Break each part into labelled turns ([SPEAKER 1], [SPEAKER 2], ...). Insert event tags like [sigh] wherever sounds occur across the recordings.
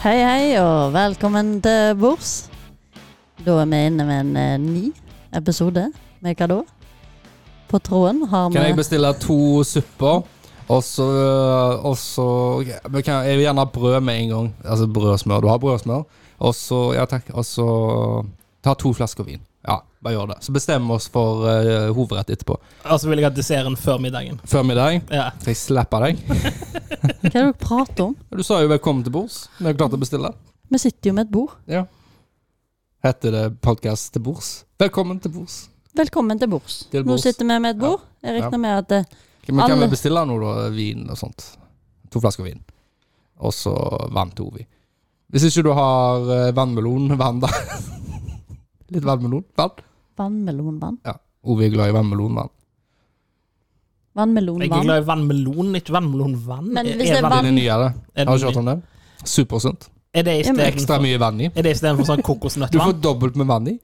[SPEAKER 1] Hei, hei, og velkommen til bords. Da er vi inne med en eh, ny episode med hva da? På tråden har
[SPEAKER 2] Kan jeg
[SPEAKER 1] vi
[SPEAKER 2] bestille to supper? Og så og så- men kan- Jeg vil gjerne ha brød med en gang. Altså brød og smør. Du har brød og smør? Og så Ja, takk. Og så ta to flasker vin. Ja, bare gjør det. Så bestemmer vi oss for eh, hovedrett etterpå.
[SPEAKER 3] Og så Altså, vil jeg ha desserten før middagen.
[SPEAKER 2] Før middag
[SPEAKER 3] Ja.
[SPEAKER 2] skal jeg slappe deg.
[SPEAKER 1] Hva er det dere prater om?
[SPEAKER 2] Du sa jo 'velkommen til bords' når jeg klarte å bestille.
[SPEAKER 1] Vi sitter jo med et bord.
[SPEAKER 2] Ja. Heter det podkast til bords? Velkommen til bords.
[SPEAKER 1] Velkommen til bords.
[SPEAKER 2] Til
[SPEAKER 1] Nå
[SPEAKER 2] bords.
[SPEAKER 1] sitter vi med et bord. Jeg
[SPEAKER 2] Ja.
[SPEAKER 1] regner med at eh,
[SPEAKER 2] Men kan
[SPEAKER 1] Alle-
[SPEAKER 2] vi bestille noe, da? Vin og sånt. To flasker vin. Og så vann til Ovi. Hvis ikke du har eh, vannmelon, vann, da. [laughs] Litt vannmelon, vann.
[SPEAKER 1] vannmelonvann
[SPEAKER 2] Ja. Ovi er glad i vannmelon, vann.
[SPEAKER 3] Jeg er
[SPEAKER 1] Vannmelonvann.
[SPEAKER 3] glad i vannmelon, ikke vannmelonvann.
[SPEAKER 1] Men
[SPEAKER 3] Er-
[SPEAKER 1] hvis det
[SPEAKER 3] er
[SPEAKER 1] er
[SPEAKER 3] vann-
[SPEAKER 2] Det er det nye, det. Har
[SPEAKER 3] er
[SPEAKER 2] du ikke hørt
[SPEAKER 3] det?
[SPEAKER 2] om det? Supersunt.
[SPEAKER 3] Er det
[SPEAKER 1] Ja, men-
[SPEAKER 2] Ekstra
[SPEAKER 3] istedenfor
[SPEAKER 2] mye vann i.
[SPEAKER 3] er det i stedet for sånn
[SPEAKER 2] Du får
[SPEAKER 3] kokosnøttvann?
[SPEAKER 2] dobbelt med vann i.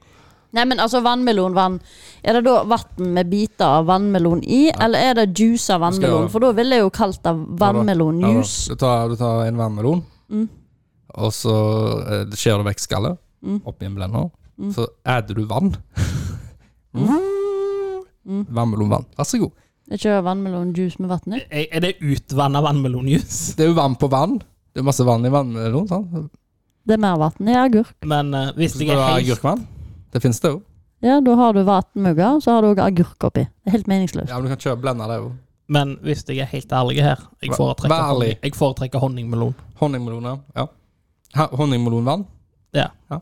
[SPEAKER 1] Nei, men altså vannmelonvann. Er det da vann med biter av vannmelon i, eller er det juice av
[SPEAKER 2] Skal jeg-
[SPEAKER 1] vannmelon? For da ville jeg jo kalt det vannmelonjuice.
[SPEAKER 2] Ja, da. Du tar, du tar en vannmelon, og så eh, skjærer du vekk skallet oppi en blender. Så adder du vann. [laughs] Vannmelonvann. Vær så god.
[SPEAKER 1] Jeg kjører vannmelonjuice med vann i.
[SPEAKER 3] Er er det utvanna vannmelonjuice?
[SPEAKER 2] Det er jo vann på vann. Det er masse vann i vannmelon. sant?
[SPEAKER 1] Det er mer vann i agurk.
[SPEAKER 3] Men eh, hvis
[SPEAKER 2] Så
[SPEAKER 3] jeg
[SPEAKER 2] skal du
[SPEAKER 3] er
[SPEAKER 2] ha
[SPEAKER 3] helt
[SPEAKER 2] agurkvann. Det finnes det jo.
[SPEAKER 1] Ja, da har du vatnmugger, og så har du òg agurk oppi. Det er helt meningsløst.
[SPEAKER 2] Ja, men Du kan kjøre blenda det jo.
[SPEAKER 3] Men hvis jeg er helt ærlig her Jeg
[SPEAKER 2] Vær-
[SPEAKER 3] foretrekker,
[SPEAKER 2] vær ærlig.
[SPEAKER 3] honning- jeg foretrekker honningmelon.
[SPEAKER 2] Honningmeloner. Ja. Ha- Honningmelonvann.
[SPEAKER 3] Ja.
[SPEAKER 2] Ja.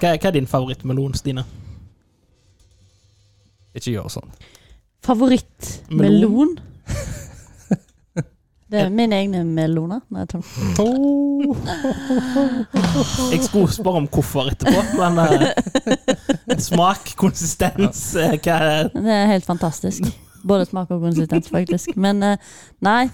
[SPEAKER 3] Hva, hva er din favorittmelon, Stine?
[SPEAKER 2] Ikke gjør sånn.
[SPEAKER 1] Favorittmelon? Det er mine egne meloner. Nei, jeg tar-
[SPEAKER 2] Oh.
[SPEAKER 3] Jeg skulle spørre om hvorfor etterpå, men eh, smak, konsistens eh, Hva er
[SPEAKER 1] det er helt fantastisk. Både smak og konsistens, faktisk. Men eh, nei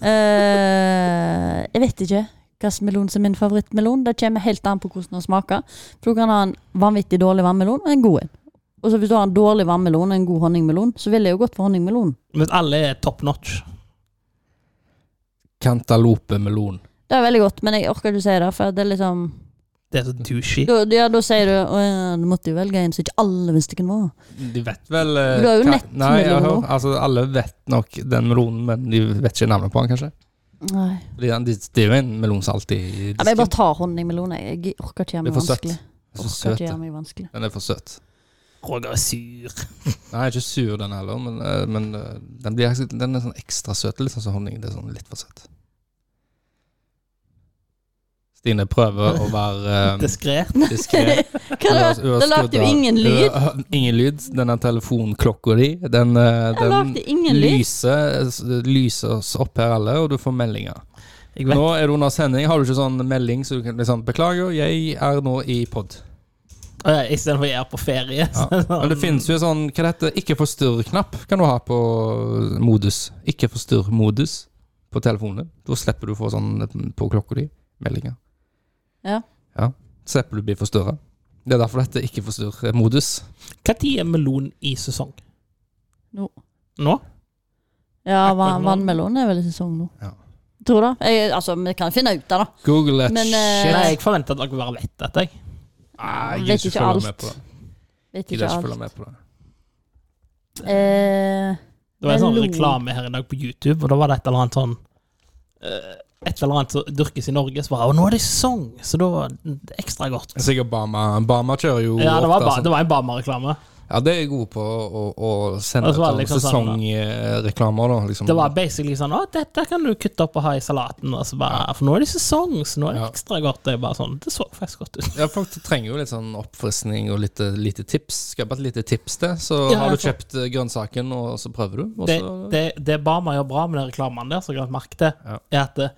[SPEAKER 1] eh, Jeg vet ikke hvilken melon som er min favorittmelon. Det kommer helt an på hvordan den smaker. For du kan ha en vanvittig dårlig vannmelon og en god en. Og så Hvis du har en dårlig vannmelon og en god honningmelon, så ville jeg jo gått for honningmelon.
[SPEAKER 3] Hvis alle er top notch
[SPEAKER 2] Cantaloupe-melon.
[SPEAKER 1] Det er veldig godt, men jeg orker ikke å si det, for det er liksom
[SPEAKER 3] Det er så douchey.
[SPEAKER 1] Da, ja, da sier du Å ja, du måtte jo velge en som ikke alle visste hvem var.
[SPEAKER 2] De vet vel eh,
[SPEAKER 1] Du har jo
[SPEAKER 2] hva-
[SPEAKER 1] nettmelon
[SPEAKER 2] Nei, jeg
[SPEAKER 1] nå.
[SPEAKER 2] hører- altså, Alle vet nok den melonen, men de vet ikke navnet på den, kanskje.
[SPEAKER 1] Nei.
[SPEAKER 2] Fordi den- Det det er jo en melon som alltid er i
[SPEAKER 1] Ja, men jeg bare
[SPEAKER 2] disken.
[SPEAKER 1] tar honningmelon. Jeg Jeg orker ikke gjøre
[SPEAKER 2] Det er
[SPEAKER 1] meg
[SPEAKER 2] for søtt.
[SPEAKER 1] vanskelig.
[SPEAKER 2] Den er
[SPEAKER 1] Orker
[SPEAKER 2] så søt.
[SPEAKER 1] ikke gjøre
[SPEAKER 2] den.
[SPEAKER 1] meg vanskelig.
[SPEAKER 2] Den er for søt.
[SPEAKER 3] Roger er sur.
[SPEAKER 2] Nei, ikke sur den heller, men, eh, men eh, den, blir, den er sånn ekstra søt. Litt sånn som honning. Det er sånn litt for søt. Stine prøver å
[SPEAKER 1] [laughs]
[SPEAKER 2] være eh,
[SPEAKER 3] Diskré.
[SPEAKER 2] diskré.
[SPEAKER 1] Hva da?
[SPEAKER 2] altså,
[SPEAKER 1] Det lagde jo ingen lyd.
[SPEAKER 2] Ingen lyd. Denne telefonklokka di, den, eh,
[SPEAKER 1] Jeg
[SPEAKER 2] den
[SPEAKER 1] lagde ingen lyd.
[SPEAKER 2] lyser, s- lyser oss opp her alle, og du får meldinger.
[SPEAKER 3] Jeg vet.
[SPEAKER 2] Nå er du under sending. Har du ikke sånn melding så du kan liksom Beklager, jeg er nå i pod.
[SPEAKER 3] Uh, Istedenfor jeg er på ferie. [laughs]
[SPEAKER 2] Ja. Men det finnes jo en sånn Hva det heter Ikke forstyrr-knapp kan du ha på eh, modus. Ikke forstyrr-modus på telefonen. din. Da slipper du å få sånn på klokka di meldinger.
[SPEAKER 1] Ja.
[SPEAKER 2] ja. Slipper du å bli forstyrra. Det er derfor dette ikke forstyrr-modus.
[SPEAKER 3] Når er melon i sesong?
[SPEAKER 1] Nå.
[SPEAKER 3] Nå?
[SPEAKER 1] Ja, va-
[SPEAKER 3] Akkurat nå.
[SPEAKER 1] vannmelon er vel i sesong nå.
[SPEAKER 2] Ja.
[SPEAKER 1] Tror det. Jeg, altså, vi kan finne ut av det.
[SPEAKER 2] Google that
[SPEAKER 1] Men, eh,
[SPEAKER 2] shit.
[SPEAKER 3] Nei, jeg forventer at dere bare vet dette. jeg.
[SPEAKER 2] Nei,
[SPEAKER 1] vet
[SPEAKER 2] gidder
[SPEAKER 1] ikke
[SPEAKER 2] følge
[SPEAKER 1] alt.
[SPEAKER 2] med på det.
[SPEAKER 1] Vet
[SPEAKER 2] Gidder
[SPEAKER 1] ikke
[SPEAKER 2] ikke
[SPEAKER 1] alt.
[SPEAKER 2] følge med på det.
[SPEAKER 1] Eh,
[SPEAKER 3] Det var en sånn
[SPEAKER 1] Melon.
[SPEAKER 3] reklame her i dag på YouTube, og da var det et eller annet sånn eh, Et eller annet som dyrkes i Norge, så bare Og nå er det sesong! Så da var det ekstra godt.
[SPEAKER 2] Det er Sikkert Bama. Bama kjører jo
[SPEAKER 3] Ja, det var,
[SPEAKER 2] ofte
[SPEAKER 3] ba,
[SPEAKER 2] sånn-
[SPEAKER 3] det var en Bama-reklame.
[SPEAKER 2] Ja, det er jeg god på å, å, å sende
[SPEAKER 3] Og så var det
[SPEAKER 2] sånn
[SPEAKER 3] liksom sånn,
[SPEAKER 2] sesongreklamer, da. Liksom.
[SPEAKER 3] Det var basically sånn Å, dette kan du kutte opp og ha i salaten. Og så bare, For nå er det sesong, så nå er det
[SPEAKER 2] Ja.
[SPEAKER 3] ekstra godt. Det er bare sånn, det så faktisk godt ut.
[SPEAKER 2] Ja, folk trenger jo litt sånn oppfriskning og litt eh, lite tips. Skal jeg bare et lite tips til, så
[SPEAKER 3] Ja,
[SPEAKER 2] har du
[SPEAKER 3] for-
[SPEAKER 2] kjøpt eh, grønnsaken, og så prøver du. Og
[SPEAKER 3] Det,
[SPEAKER 2] så,
[SPEAKER 3] det, det Bama gjør bra med den reklamen der, som jeg har lagt merke til,
[SPEAKER 2] Ja.
[SPEAKER 3] er at eh,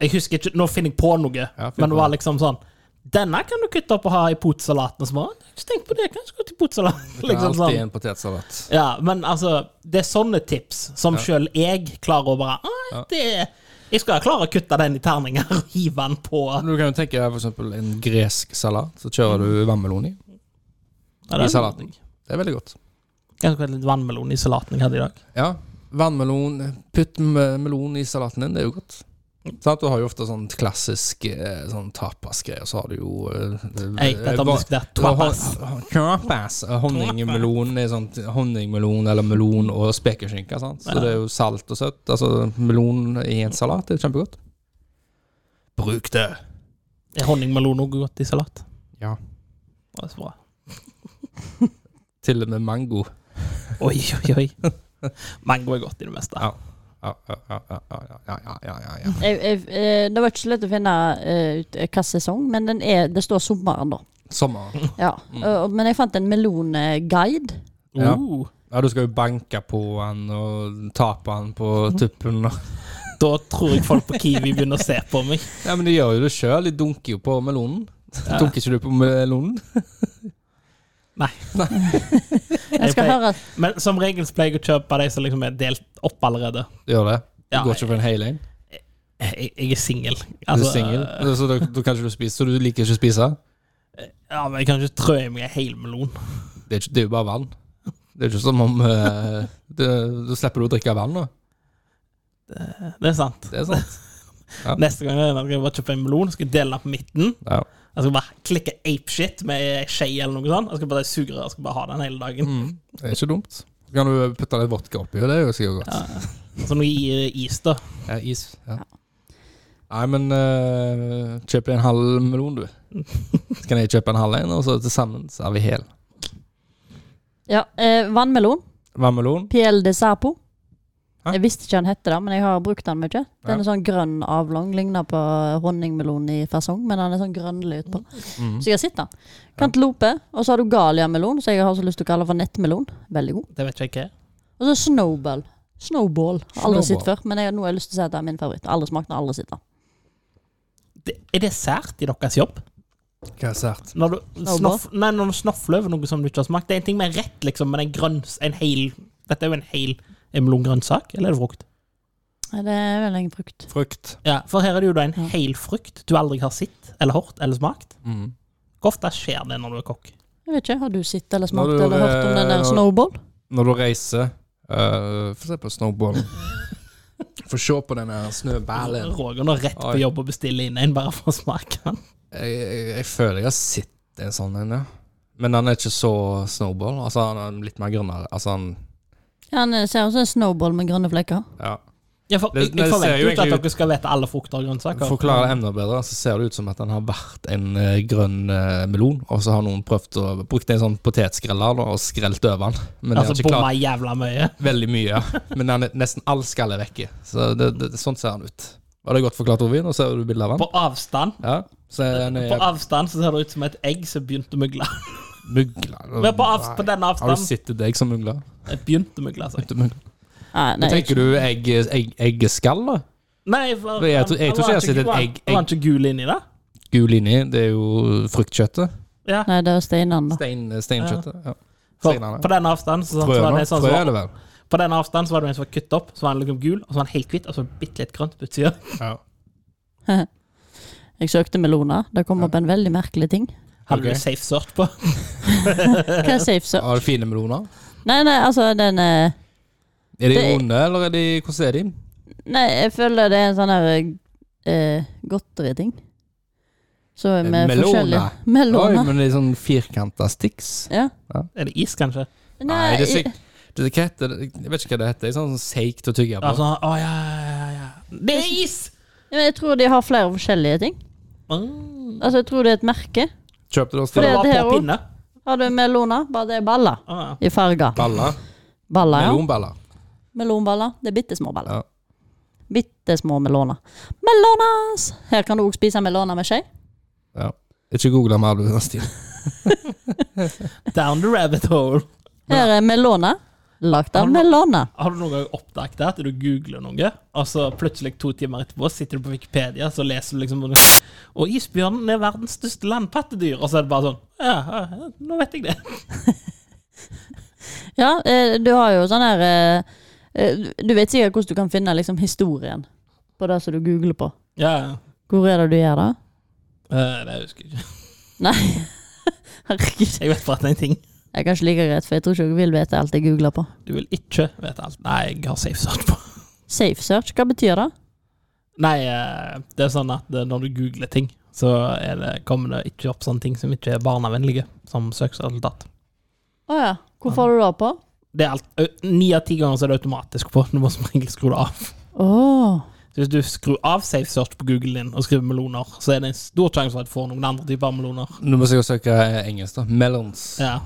[SPEAKER 3] Jeg husker ikke Nå finner jeg på noe,
[SPEAKER 2] Ja, finn
[SPEAKER 3] men det
[SPEAKER 2] på
[SPEAKER 3] var liksom sånn Denne kan du kutte opp og ha i potsalaten. Og så bare, «Å, ikke tenk på det, kanskje gå til potsalat.
[SPEAKER 2] det er
[SPEAKER 3] [laughs] Liksom
[SPEAKER 2] alltid
[SPEAKER 3] sånn.
[SPEAKER 2] en potetsalat.
[SPEAKER 3] Ja, men altså, det er sånne tips som
[SPEAKER 2] Ja.
[SPEAKER 3] sjøl jeg klarer å bare «Å,
[SPEAKER 2] Ja.
[SPEAKER 3] det, Jeg skal klare å kutte den i terninger og hive den på
[SPEAKER 2] Du kan jo tenke deg for eksempel en gresk salat, så kjører
[SPEAKER 3] Mm.
[SPEAKER 2] du vannmelon i.
[SPEAKER 3] Ja, det er-
[SPEAKER 2] I salaten. Det er veldig godt.
[SPEAKER 3] Kanskje litt vannmelon i salaten jeg hadde i dag.
[SPEAKER 2] Ja, vannmelon Putt me- melon i salaten din, det er jo godt. Sant? Du har jo ofte sånn klassisk eh, sånn tapasgreie, og så har du jo eh,
[SPEAKER 3] Ei, dette har vi
[SPEAKER 2] eh,
[SPEAKER 3] diskutert.
[SPEAKER 2] hva-
[SPEAKER 3] Tapas.
[SPEAKER 2] hon- Tapas. Honningmelon er sånn honningmelon eller melon og spekeskinke. Sant? Så
[SPEAKER 3] Ja.
[SPEAKER 2] det er jo salt og søtt. Altså melon i en salat det er kjempegodt. Bruk det!
[SPEAKER 3] Er honningmelon også godt i salat?
[SPEAKER 2] Ja.
[SPEAKER 3] Det er så bra.
[SPEAKER 2] Til og med mango.
[SPEAKER 3] Oi, oi, oi. Mango er godt i det meste.
[SPEAKER 2] Ja. Ja, ja, ja, ja, ja, ja, ja, ja, ja.
[SPEAKER 1] Jeg, jeg, eh, det var ikke så lett å finne eh, ut hva sesong, men den er, det står sommeren,
[SPEAKER 2] [laughs]
[SPEAKER 1] da.
[SPEAKER 2] Sommeren.
[SPEAKER 1] Ja.
[SPEAKER 2] Mm.
[SPEAKER 1] Eh, men jeg fant en melonguide.
[SPEAKER 2] Ja.
[SPEAKER 3] Uh,
[SPEAKER 2] Ja, du skal jo banke på han og tape han på tuppen. og-
[SPEAKER 3] da tror jeg folk på Kiwi begynner å se på meg.
[SPEAKER 2] Ja, men de gjør jo det sjøl. De dunker jo på melonen. Dunker ikke du på melonen?
[SPEAKER 3] [laughs]
[SPEAKER 1] Jeg skal
[SPEAKER 3] Jeg
[SPEAKER 1] høre at
[SPEAKER 3] Men som regel så pleier jeg å kjøpe de som liksom er delt opp allerede.
[SPEAKER 2] Du gjør det? Du
[SPEAKER 3] Ja,
[SPEAKER 2] går ikke for en hel en?
[SPEAKER 3] Jeg, jeg er singel.
[SPEAKER 2] Du er
[SPEAKER 3] Altså,
[SPEAKER 2] singel,
[SPEAKER 3] øh,
[SPEAKER 2] så da, da kan ikke du spise. Så du liker ikke å spise?
[SPEAKER 3] Ja, men jeg kan ikke trø i meg en hel melon.
[SPEAKER 2] Det er, ikke, det er jo bare vann. Det er ikke som om eh, det, Da slipper du å drikke vann, da.
[SPEAKER 3] Det er sant.
[SPEAKER 2] Det er sant. Ja.
[SPEAKER 3] Neste gang jeg skal jeg bare kjøpe en melon, skal jeg dele den på midten.
[SPEAKER 2] Ja.
[SPEAKER 3] Jeg skal bare klikke apeshit med ei skje eller noe sånt. Jeg skal bare suge og skal bare ha den hele dagen.
[SPEAKER 2] Mm, det er ikke dumt. Så kan du putte litt vodka oppi, og det er jo sikkert godt.
[SPEAKER 3] Ja. Så noe i- is, da.
[SPEAKER 2] Ja, is. Ja. Nei, men eh, kjøp deg en halv melon, du. Så kan jeg kjøpe en halv en, og så til sammen så er vi hel.
[SPEAKER 1] ja, eh, Vannmelon.
[SPEAKER 2] Vannmelon.
[SPEAKER 1] Piel de Serpo.
[SPEAKER 2] Hæ?
[SPEAKER 1] Jeg visste ikke han hette det, men jeg har brukt den mye. Den
[SPEAKER 2] Ja.
[SPEAKER 1] er sånn grønn avlang, ligner på honningmelon i fasong, men den er sånn grønnlig utpå.
[SPEAKER 2] Mm.
[SPEAKER 1] Så jeg har sett den. Kantelope, og så har du galiamelon, som jeg har så lyst til å kalle for nettmelon. Veldig god.
[SPEAKER 3] Det vet ikke jeg hva er.
[SPEAKER 1] Og så snowball. Snowball. Har Aldri sett
[SPEAKER 2] Snowball.
[SPEAKER 1] før, men jeg, nå har jeg lyst til å si at det er min favoritt. Aldri smakt den, aldri sett den.
[SPEAKER 3] Det, er det sært i deres jobb?
[SPEAKER 2] Hva er sært?
[SPEAKER 3] Når du,
[SPEAKER 1] Snabba.
[SPEAKER 3] snoff, nei, når du snoffler over noe som du ikke har smakt Det er en ting med rett, liksom, men en grønn en hel, Dette er jo en hel en melongrønnsak, eller er det frukt?
[SPEAKER 1] Nei, Det er vel ingen frukt.
[SPEAKER 2] Frukt.
[SPEAKER 3] Ja, For her er det jo da en
[SPEAKER 1] Ja.
[SPEAKER 3] hel frukt du aldri har sett, eller hørt, eller smakt.
[SPEAKER 2] Mm.
[SPEAKER 3] Hvor ofte skjer det når du er kokk?
[SPEAKER 1] Jeg vet ikke, Har du sett eller
[SPEAKER 2] Når
[SPEAKER 1] smakt
[SPEAKER 2] du,
[SPEAKER 1] eller hørt om den
[SPEAKER 2] eh,
[SPEAKER 1] der snowball?
[SPEAKER 2] Når du reiser eh, Få se på [laughs] snowballen. Få se på den her snøballen.
[SPEAKER 3] Roger nå rett på
[SPEAKER 2] Oi.
[SPEAKER 3] jobb og bestiller inn en bare for å smake den.
[SPEAKER 2] Jeg, jeg, jeg føler jeg har sett en sånn en, ja. Men han er ikke så snowball. Altså, han er litt mer grønnere. Altså, han
[SPEAKER 1] Ja, den ser ut som en snowball med grønne flekker.
[SPEAKER 2] Ja.
[SPEAKER 3] Ja, for,
[SPEAKER 2] Det-
[SPEAKER 3] jeg, jeg
[SPEAKER 2] det ser jo
[SPEAKER 3] forventer jo ikke at
[SPEAKER 2] egentlig ut-
[SPEAKER 3] dere skal vite alle frukter og grønnsaker.
[SPEAKER 2] Forklarer det enda bedre, så ser det ut som at han har vært en eh, grønn eh, melon, og så har noen prøvd å brukt en sånn potetsskreller da, og skrelt over den. Men de har
[SPEAKER 3] Altså
[SPEAKER 2] ikke
[SPEAKER 3] bomma
[SPEAKER 2] klart
[SPEAKER 3] jævla mye.
[SPEAKER 2] veldig
[SPEAKER 3] [laughs]
[SPEAKER 2] mye. Men han er nesten all skallet er vekke. Så det, det, sånn ser han ut. Var det godt forklart, Ovin? Og ser du bilde av han?
[SPEAKER 3] På avstand
[SPEAKER 2] Ja. Så er han eh,
[SPEAKER 3] På avstand så ser det ut som et egg som begynte å mugle.
[SPEAKER 2] mugler.
[SPEAKER 3] Men på, avs- på denne
[SPEAKER 2] Har du
[SPEAKER 3] avstanden
[SPEAKER 2] sett et egg som mugler?
[SPEAKER 3] Jeg begynte å mugle. Altså.
[SPEAKER 2] Begynte å mugle.
[SPEAKER 1] Nei,
[SPEAKER 2] Men
[SPEAKER 1] nei,
[SPEAKER 2] tenker du egg, egg, eggeskall, da?
[SPEAKER 3] Nei, for,
[SPEAKER 2] Jeg tror- jeg tror ikke jeg har sett et
[SPEAKER 3] var-
[SPEAKER 2] egg-
[SPEAKER 3] Var han ikke gul inni det?
[SPEAKER 2] Gul inni, det er jo fruktkjøttet.
[SPEAKER 3] Ja.
[SPEAKER 1] nei, det er steinene, da.
[SPEAKER 2] Stein, steinkjøttet. Ja.
[SPEAKER 3] For,
[SPEAKER 2] Steinene.
[SPEAKER 3] på den avstanden så, så var
[SPEAKER 2] Frøene.
[SPEAKER 3] det en sånn, som
[SPEAKER 2] Frø er
[SPEAKER 3] var-
[SPEAKER 2] det vel?
[SPEAKER 3] på den avstanden så var det en som var kuttet opp, så var den liksom gul, og så var den helt hvit, og så bitte litt grønt på utsida.
[SPEAKER 2] Ja.
[SPEAKER 1] [laughs] Jeg søkte meloner. Det kom opp en veldig merkelig
[SPEAKER 2] [laughs]
[SPEAKER 1] ting.
[SPEAKER 3] [laughs] Hadde
[SPEAKER 2] Ok.
[SPEAKER 3] du safe search på? [laughs]
[SPEAKER 1] Hva er safe search?
[SPEAKER 2] Har du fine meloner?
[SPEAKER 1] Nei, nei, altså den eh,
[SPEAKER 2] Er de
[SPEAKER 1] Det-
[SPEAKER 2] onde, eller er de, hvordan er de?
[SPEAKER 1] Nei, jeg føler det er en sånn her eh, godteri-ting. Så [laughs] med
[SPEAKER 2] Melona.
[SPEAKER 1] forskjellige
[SPEAKER 2] Eh, Oi,
[SPEAKER 1] Meloner.
[SPEAKER 2] men de er sånn firkanta sticks.
[SPEAKER 1] Ja.
[SPEAKER 3] Er det is, kanskje?
[SPEAKER 2] Nei, det er sikk... Det, hva heter det? Jeg vet ikke hva det heter. Det er sånn seigt å tygge på.
[SPEAKER 3] Ja, sånn, å, ja, ja, ja, ja. Det er is!
[SPEAKER 1] Ja, men jeg tror de har flere forskjellige ting.
[SPEAKER 3] Mm.
[SPEAKER 1] Altså, jeg tror det er et merke.
[SPEAKER 2] Kjøpte du oss
[SPEAKER 3] For
[SPEAKER 1] det
[SPEAKER 3] det
[SPEAKER 1] er
[SPEAKER 3] var
[SPEAKER 1] det
[SPEAKER 3] på
[SPEAKER 1] her også.
[SPEAKER 3] pinne.
[SPEAKER 1] Har du meloner, bare det er baller
[SPEAKER 3] Ah, ja.
[SPEAKER 1] i farger.
[SPEAKER 2] baller?
[SPEAKER 1] Baller, ja.
[SPEAKER 2] Melonballer.
[SPEAKER 1] Melonballer. Det er bitte små baller.
[SPEAKER 2] Ja.
[SPEAKER 1] Bitte små meloner. Melonas! Her kan du òg spise meloner med skje.
[SPEAKER 2] Ja. Ikke google mer, du. Stil.
[SPEAKER 3] Down the rabbit hole.
[SPEAKER 1] Her er meloner lagd av
[SPEAKER 3] Har du-
[SPEAKER 1] meloner.
[SPEAKER 3] Har du noen gang oppdaget at du googler noe, og så plutselig to timer etterpå sitter du på Wikipedia så leser du liksom Og isbjørnen er verdens største landpattedyr, og så er det bare sånn Ja, ja, ja, nå vet jeg det.
[SPEAKER 1] Ja, eh, du har jo sånn her eh, eh, Du vet sikkert hvordan du kan finne liksom, historien på det som du googler på.
[SPEAKER 3] Ja,
[SPEAKER 1] Hvor er det du gjør det?
[SPEAKER 3] eh, Det husker jeg ikke.
[SPEAKER 1] Nei. [laughs] Herregud.
[SPEAKER 3] Jeg vet bare at det er en ting.
[SPEAKER 1] Det er kanskje like greit, for jeg tror ikke dere vil vite alt jeg googler på.
[SPEAKER 3] Du vil ikke vite alt. Nei, jeg har safe search på.
[SPEAKER 1] Safe search, hva betyr det?
[SPEAKER 3] Nei, eh, det er sånn at eh, når du googler ting, så er det, kommer det ikke opp sånne ting som ikke er barnevennlige, som søksresultat.
[SPEAKER 1] Å ja. Hvor får du det på?
[SPEAKER 3] Det er alt, ø, Ni av ti ganger så er det automatisk på. Du må som regel skru det av.
[SPEAKER 1] Åh
[SPEAKER 3] Så hvis du skrur av safe search på Google din og skriver meloner, så er det en stor sjanse for at du får noen andre typer meloner.
[SPEAKER 2] Nå må jeg jo søke eh, engelsk, da. Melons.
[SPEAKER 3] Ja.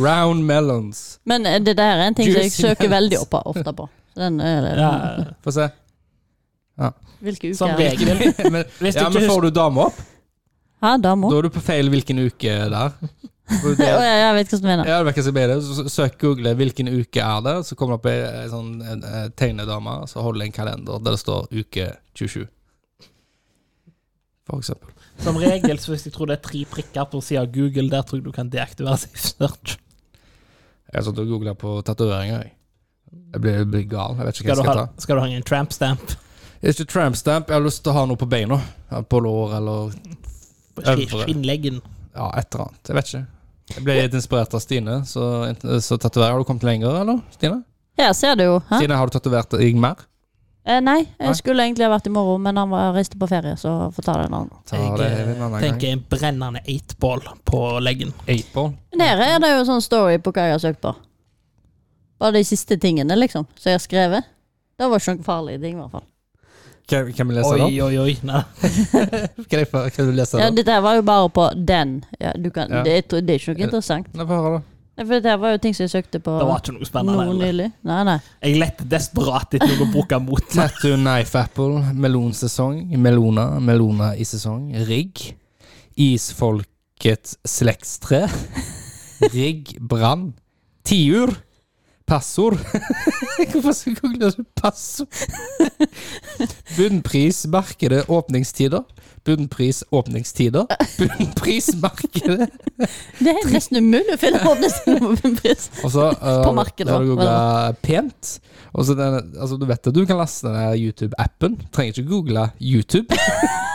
[SPEAKER 2] Round melons.
[SPEAKER 1] Men eh, det der er en ting som jeg
[SPEAKER 2] Juicy
[SPEAKER 1] søker
[SPEAKER 2] melons.
[SPEAKER 1] veldig opp, ofte på. Så Den er,
[SPEAKER 3] ja. [laughs]
[SPEAKER 2] Få se.
[SPEAKER 1] Hvilke uker
[SPEAKER 3] Som
[SPEAKER 1] er det?
[SPEAKER 3] regel.
[SPEAKER 2] men,
[SPEAKER 3] Hvis du
[SPEAKER 2] ja,
[SPEAKER 3] ikke
[SPEAKER 2] men
[SPEAKER 3] husker
[SPEAKER 2] får du dame opp,
[SPEAKER 1] Hæ, dama?
[SPEAKER 2] da er du på feil hvilken uke
[SPEAKER 3] [laughs]
[SPEAKER 2] der.
[SPEAKER 1] [laughs]
[SPEAKER 2] For
[SPEAKER 1] Å,
[SPEAKER 2] det-
[SPEAKER 1] ja, jeg vet hva du mener.
[SPEAKER 2] Ja, det virker som bedre. Så Søk Google hvilken uke er det, så kommer det opp ei ei sånn en, eh, tegnedame, så holder det en kalender der det står uke 27. For eksempel.
[SPEAKER 3] Som regel, så hvis jeg tror det er tre prikker på sida av Google, der tror jeg du kan deaktivere safe search.
[SPEAKER 2] Jeg satt og googla på tatoveringer, jeg. Jeg blir, jeg blir gal. Jeg vet ikke hva jeg
[SPEAKER 3] Skal du
[SPEAKER 2] skal
[SPEAKER 3] ha,
[SPEAKER 2] ta.
[SPEAKER 3] skal du ha en tramp stamp?
[SPEAKER 2] Det er Ikke trampstamp. Jeg har lyst til å ha noe på beina. Ja, På lår eller
[SPEAKER 3] På
[SPEAKER 2] Øvre.
[SPEAKER 3] skinnleggen.
[SPEAKER 2] ja, et eller annet. Jeg vet ikke. Jeg ble litt inspirert av Stine, så, så tatoverer. Har du kommet lenger, eller? Stine,
[SPEAKER 1] Her ser du jo. Hæ?
[SPEAKER 2] Stine har du tatovert deg mer?
[SPEAKER 1] Eh, nei,
[SPEAKER 2] Nei.
[SPEAKER 1] jeg skulle egentlig ha vært i morgen, men han var reiste på ferie, så får ta det en annen gang.
[SPEAKER 2] Ta
[SPEAKER 3] Jeg
[SPEAKER 2] det
[SPEAKER 3] eh,
[SPEAKER 2] en annen gang.
[SPEAKER 3] tenker en brennende eightball på leggen.
[SPEAKER 2] Eightball.
[SPEAKER 1] Men her er det jo sånn story på hva jeg har søkt på. Bare de siste tingene, liksom, som jeg har skrevet. Det var ikke noen farlige ting, i hvert fall.
[SPEAKER 2] Kan, kan vi lese det
[SPEAKER 3] Oi,
[SPEAKER 2] opp?
[SPEAKER 3] oi, oi. Nei.
[SPEAKER 2] Kan, jeg, få- kan du lese det
[SPEAKER 1] Ja,
[SPEAKER 2] opp?
[SPEAKER 1] dette her var jo bare på den. Ja, du kan,
[SPEAKER 2] Ja.
[SPEAKER 1] det, er- det er ikke noe interessant.
[SPEAKER 2] Nei, få høre, da.
[SPEAKER 1] Nei, For dette her var jo ting som jeg søkte på
[SPEAKER 3] Det var ikke noe
[SPEAKER 1] nå
[SPEAKER 3] spennende. heller.
[SPEAKER 1] nylig. Nei, nei.
[SPEAKER 3] Jeg lette desperat etter noe å bruke mot meg.
[SPEAKER 2] Tattoo knife apple, melonsesong, melona, melona i sesong, rigg, isfolkets [laughs] slektstre, rigg, brann, tiur, passord. [laughs] Hvorfor skal jeg google det? passord? [laughs] Bunnpris, markedet, åpningstider. Bunnpris, [laughs] åpningstider. Bunnpris, markedet.
[SPEAKER 1] Det er nesten umulig å finne [laughs] opp nesten på en pris.
[SPEAKER 2] Og så eh, har du-
[SPEAKER 1] markedet,
[SPEAKER 2] har du googla pent. Og så den, altså, du vet at du kan laste den her YouTube-appen. Trenger ikke google YouTube.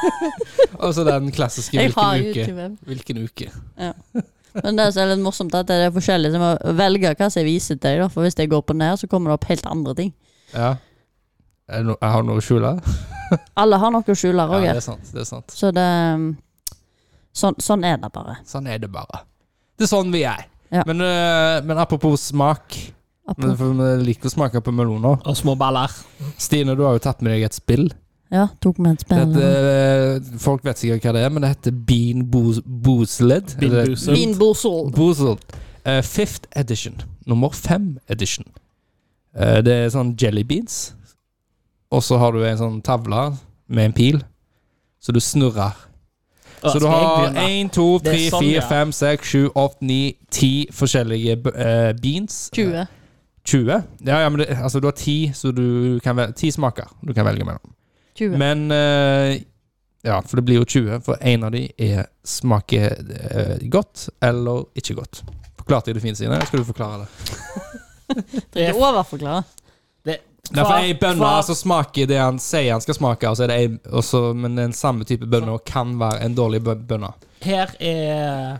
[SPEAKER 2] [laughs] og så den klassiske
[SPEAKER 1] Jeg har
[SPEAKER 2] hvilken uke.
[SPEAKER 1] YouTube.
[SPEAKER 2] Hvilken uke.
[SPEAKER 1] Men det som er litt morsomt, er at det er forskjellig. Så jeg må velge hva som jeg viser til deg, da. For hvis jeg går på den her, så kommer det opp helt andre ting.
[SPEAKER 2] Ja. Er det no- Jeg har noe å skjule.
[SPEAKER 1] Alle har noe å skjule,
[SPEAKER 2] Ja, det
[SPEAKER 1] Roger.
[SPEAKER 2] er sant. Det er sant.
[SPEAKER 1] Så det um, Sånn, sånn er det bare.
[SPEAKER 2] Sånn er det bare. Det er sånn vi er.
[SPEAKER 1] Ja.
[SPEAKER 2] Men, eh, men apropos smak. Men,
[SPEAKER 1] Apropos-
[SPEAKER 2] for vi liker å smake på meloner.
[SPEAKER 3] Og små baller.
[SPEAKER 2] Stine, du har jo tatt med deg et spill.
[SPEAKER 1] Ja, tok med et
[SPEAKER 2] Det
[SPEAKER 1] spennende
[SPEAKER 2] heter, eh, folk vet sikkert hva det er, men det heter Bean Boos- Boozled.
[SPEAKER 3] Bean
[SPEAKER 2] Eller-
[SPEAKER 3] Boozled. Bean
[SPEAKER 1] Boozled.
[SPEAKER 2] Boozled. Eh, fifth edition. Nummer fem edition. Eh, det er sånn jelly beans. Og så har du en sånn tavle med en pil, så du snurrer.
[SPEAKER 3] Og
[SPEAKER 2] så du
[SPEAKER 3] skal jeg
[SPEAKER 2] har
[SPEAKER 3] begynne?
[SPEAKER 2] én, to,
[SPEAKER 3] Det er
[SPEAKER 2] tre,
[SPEAKER 3] sånn,
[SPEAKER 2] fire,
[SPEAKER 3] ja.
[SPEAKER 2] fem, seks, sju, åtte, ni, ti forskjellige b- eh, beans.
[SPEAKER 1] 20.
[SPEAKER 2] 20. Ja, ja, men det, altså, du har ti, så du kan vel- ti smaker du kan velge mellom.
[SPEAKER 1] 20.
[SPEAKER 2] Men eh, Ja, for det blir jo 20, for en av de er smaker eh, godt eller ikke godt. Forklarte jeg det fint, Stine? Skal du forklare det?
[SPEAKER 1] Det er overforklare.
[SPEAKER 2] Nei, for ei
[SPEAKER 3] Hva-
[SPEAKER 2] bønne
[SPEAKER 3] hva-
[SPEAKER 2] så altså smaker det han sier han skal smake, og så er det ei, og så- men den samme type bønner kan være en dårlig bø- bønne.
[SPEAKER 3] Her er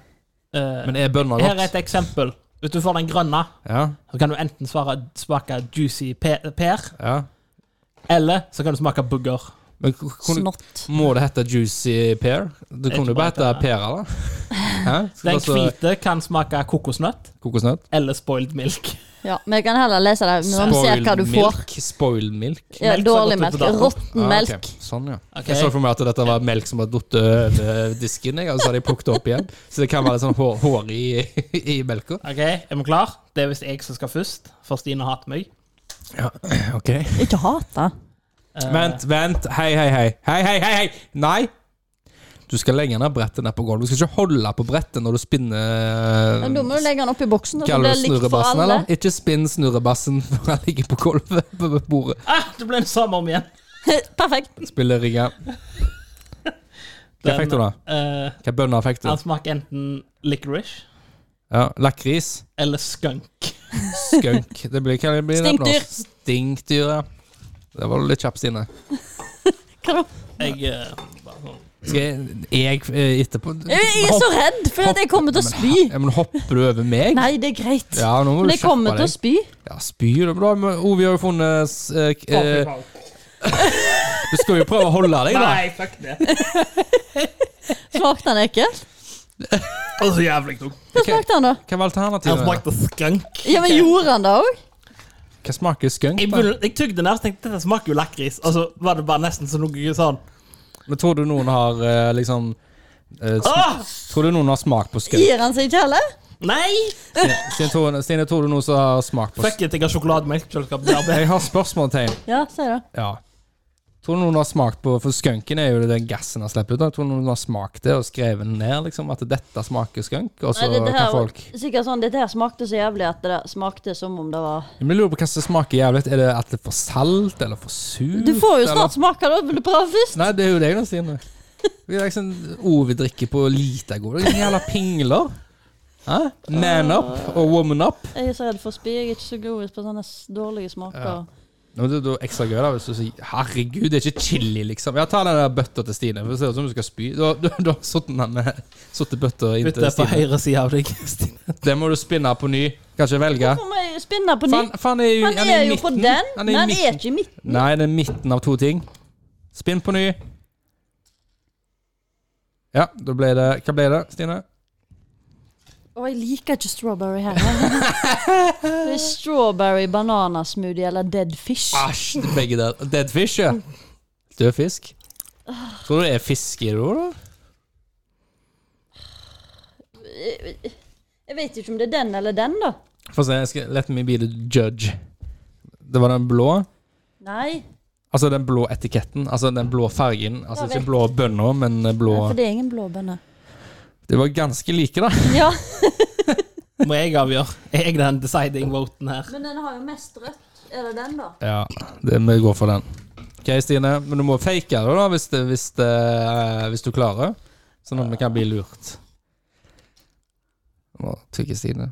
[SPEAKER 3] eh,
[SPEAKER 2] Men er bønner
[SPEAKER 3] Her er
[SPEAKER 2] godt?
[SPEAKER 3] et eksempel. Hvis du får den grønne,
[SPEAKER 2] Ja,
[SPEAKER 3] så kan du enten svare, smake juicy pe- pær,
[SPEAKER 2] ja.
[SPEAKER 3] eller så kan du smake bugger.
[SPEAKER 2] Men k- kunne,
[SPEAKER 1] Snott.
[SPEAKER 2] må det hete juicy pear? Det
[SPEAKER 3] Jeg
[SPEAKER 2] kunne jo
[SPEAKER 3] tror
[SPEAKER 2] bare hete
[SPEAKER 3] bare det-
[SPEAKER 2] pære,
[SPEAKER 3] [laughs]
[SPEAKER 2] da. Hæ? Skal
[SPEAKER 3] Den
[SPEAKER 2] det også
[SPEAKER 3] hvite kan smake kokosnøtt
[SPEAKER 2] kokosnøtt?
[SPEAKER 3] eller spoiled milk.
[SPEAKER 1] Ja, men jeg kan heller lese det når vi ser hva du får.
[SPEAKER 2] milk. Spoiled milk.
[SPEAKER 1] Ja,
[SPEAKER 3] Melk som har
[SPEAKER 1] dårlig
[SPEAKER 3] gått ut
[SPEAKER 1] melk.
[SPEAKER 3] på dato.
[SPEAKER 1] Råtten
[SPEAKER 2] Ah, ok.
[SPEAKER 1] melk.
[SPEAKER 2] Sånn, ja.
[SPEAKER 3] Ok.
[SPEAKER 2] Jeg så for meg at dette var melk som hadde falt over disken, jeg, og så har de plukket det opp igjen. Så det kan være litt sånn hår, hår i, i melka.
[SPEAKER 3] Ok, Er vi klar? Det er visst jeg som skal først, for Stine hater meg.
[SPEAKER 1] Ikke hat det.
[SPEAKER 3] Eh,
[SPEAKER 2] Vent, vent. Hei, hei, hei. Hei, hei, hei, hei. Nei! Du skal legge ned brettet ned på gulvet. Du skal ikke holde på brettet når du spinner
[SPEAKER 1] Men da må du legge den oppi boksen. Så blir
[SPEAKER 2] Kaller du
[SPEAKER 1] det
[SPEAKER 2] det
[SPEAKER 1] likt for
[SPEAKER 2] snurrebassen,
[SPEAKER 1] alle.
[SPEAKER 2] eller? Ikke spinn snurrebassen [laughs] før han ligger på gulvet på bordet.
[SPEAKER 3] Ah, det ble det samme om igjen.
[SPEAKER 1] [laughs] Perfekt.
[SPEAKER 2] Spiller rigga. Hva
[SPEAKER 3] Den,
[SPEAKER 2] fikk du, da?
[SPEAKER 3] eh,
[SPEAKER 2] Hva bønner fikk du?
[SPEAKER 3] han smaker enten licorice
[SPEAKER 2] Ja, Lakris?
[SPEAKER 3] eller skunk.
[SPEAKER 2] Skunk. Det blir, hva blir det på
[SPEAKER 1] Stinkdyr.
[SPEAKER 2] norsk? Stinkdyr. ja. Det var du litt kjapp, Stine.
[SPEAKER 1] Hva da?
[SPEAKER 3] Jeg eh, bare sånn.
[SPEAKER 2] Skal jeg, jeg eh, etterpå
[SPEAKER 1] Jeg jeg er så redd for at jeg kommer til å spy.
[SPEAKER 2] Ja, men hopper du over meg?
[SPEAKER 1] Nei, det er greit.
[SPEAKER 2] Ja, nå må
[SPEAKER 1] Men
[SPEAKER 2] du
[SPEAKER 1] jeg
[SPEAKER 2] skjerpe
[SPEAKER 1] kommer til å
[SPEAKER 2] deg.
[SPEAKER 1] spy.
[SPEAKER 2] Ja, spyr du bra? Men Ovi har jo funnet s- eh, k- eh, Du skal jo prøve å holde deg, da.
[SPEAKER 3] Nei, fuck det.
[SPEAKER 1] Smakte han ekkelt?
[SPEAKER 3] Og så jævlig tung.
[SPEAKER 1] Hva smakte han, da?
[SPEAKER 2] Hva var
[SPEAKER 3] Han
[SPEAKER 2] alternativet?
[SPEAKER 3] smakte skrank.
[SPEAKER 1] Ja, men Gjorde han det òg?
[SPEAKER 2] Hva smaker skunk?
[SPEAKER 3] Jeg,
[SPEAKER 2] da?
[SPEAKER 3] begynner- jeg tygde den her og tenkte dette smaker jo lakris. Og så var det bare nesten som noe sånn
[SPEAKER 2] Men tror du noen har eh, liksom eh, sm-
[SPEAKER 3] Åh!
[SPEAKER 2] Tror du noen har smak på skunk?
[SPEAKER 1] Gir han seg ikke heller?
[SPEAKER 3] Ah! Nei!
[SPEAKER 2] Stine, Stine, tror, Stine, tror du noen som har smak på skunk?
[SPEAKER 3] Fuck it, jeg har sjokolademelk. kjøleskapet. Det er det.
[SPEAKER 2] Jeg har spørsmålstegn.
[SPEAKER 1] Ja, si det.
[SPEAKER 2] Ja. Tror du noen har smakt på For skunken er jo den gassen han slipper ut. da. Tror du noen har smakt det og skrevet den ned, liksom? At dette smaker skunk? Og så
[SPEAKER 1] Nei, dette
[SPEAKER 2] kan
[SPEAKER 1] her, var-
[SPEAKER 2] folk
[SPEAKER 1] sikkert sånn, dette her smakte så jævlig at det smakte som om det var
[SPEAKER 2] Men jeg lurer på hva som smaker jævlig. Er det at det er for salt, eller for surt?
[SPEAKER 1] Du får jo
[SPEAKER 2] eller-
[SPEAKER 1] snart smake det, vil du prøve først?
[SPEAKER 2] Nei, det er jo deg da, Stine. Vi er liksom ord vi drikker på lite gode. Det er Jævla pingler. Hæ? Man up og woman up.
[SPEAKER 1] Jeg er så redd for spy, jeg er ikke så glorisk på sånne s- dårlige smaker.
[SPEAKER 2] Nå, det er jo ekstra gøy da hvis du sier 'herregud, det er ikke chili', liksom. Ja, ta den der bøtta til Stine, for det ser ut som du skal spy. Du, har- du, du har satt den der med satt bøtta inn
[SPEAKER 3] Bytte
[SPEAKER 2] til
[SPEAKER 3] på
[SPEAKER 2] Stine.
[SPEAKER 3] høyre side av deg. Stine.
[SPEAKER 2] Det må du spinne på ny. Kanskje velge.
[SPEAKER 1] Hvorfor må jeg spinne på ny?
[SPEAKER 2] Faen, faen er jo,
[SPEAKER 1] Han
[SPEAKER 2] han
[SPEAKER 1] er
[SPEAKER 2] i
[SPEAKER 1] jo på
[SPEAKER 2] midten.
[SPEAKER 1] den,
[SPEAKER 2] Han er
[SPEAKER 1] men
[SPEAKER 2] i
[SPEAKER 1] han er
[SPEAKER 2] midten.
[SPEAKER 1] ikke i midten.
[SPEAKER 2] Nei, det er midten av to ting. Spinn på ny. Ja, da ble det Hva ble det, Stine?
[SPEAKER 1] Og jeg liker ikke strawberry
[SPEAKER 2] [laughs]
[SPEAKER 1] her. [laughs] Det er strawberry bananasmoothie eller dead fish.
[SPEAKER 2] Æsj, det er begge der. Dead fish, ja. Død fisk.
[SPEAKER 1] Ah.
[SPEAKER 2] Tror du det er fisk i det òg, da?
[SPEAKER 1] Jeg vet ikke om det er den eller den, da.
[SPEAKER 2] Få se, jeg skal let me be the judge. Det var den blå.
[SPEAKER 1] Nei,
[SPEAKER 2] Altså den blå etiketten. Altså den blå fargen. Altså
[SPEAKER 1] Jeg
[SPEAKER 2] ikke
[SPEAKER 1] vet.
[SPEAKER 2] blå bønner, men eh, blå
[SPEAKER 1] for det er ingen blåbønner.
[SPEAKER 2] De var ganske like, da.
[SPEAKER 1] Ja,
[SPEAKER 3] Må jeg avgjøre. Er jeg den deciding voten her?
[SPEAKER 1] men den har jo mest rødt. Er det den, da?
[SPEAKER 2] Ja, det, vi går for den. OK, Stine. Men du må fake det, da, hvis, det, hvis, det, eh, hvis du klarer. Sånn at vi kan bli lurt. Nå trykker Stine.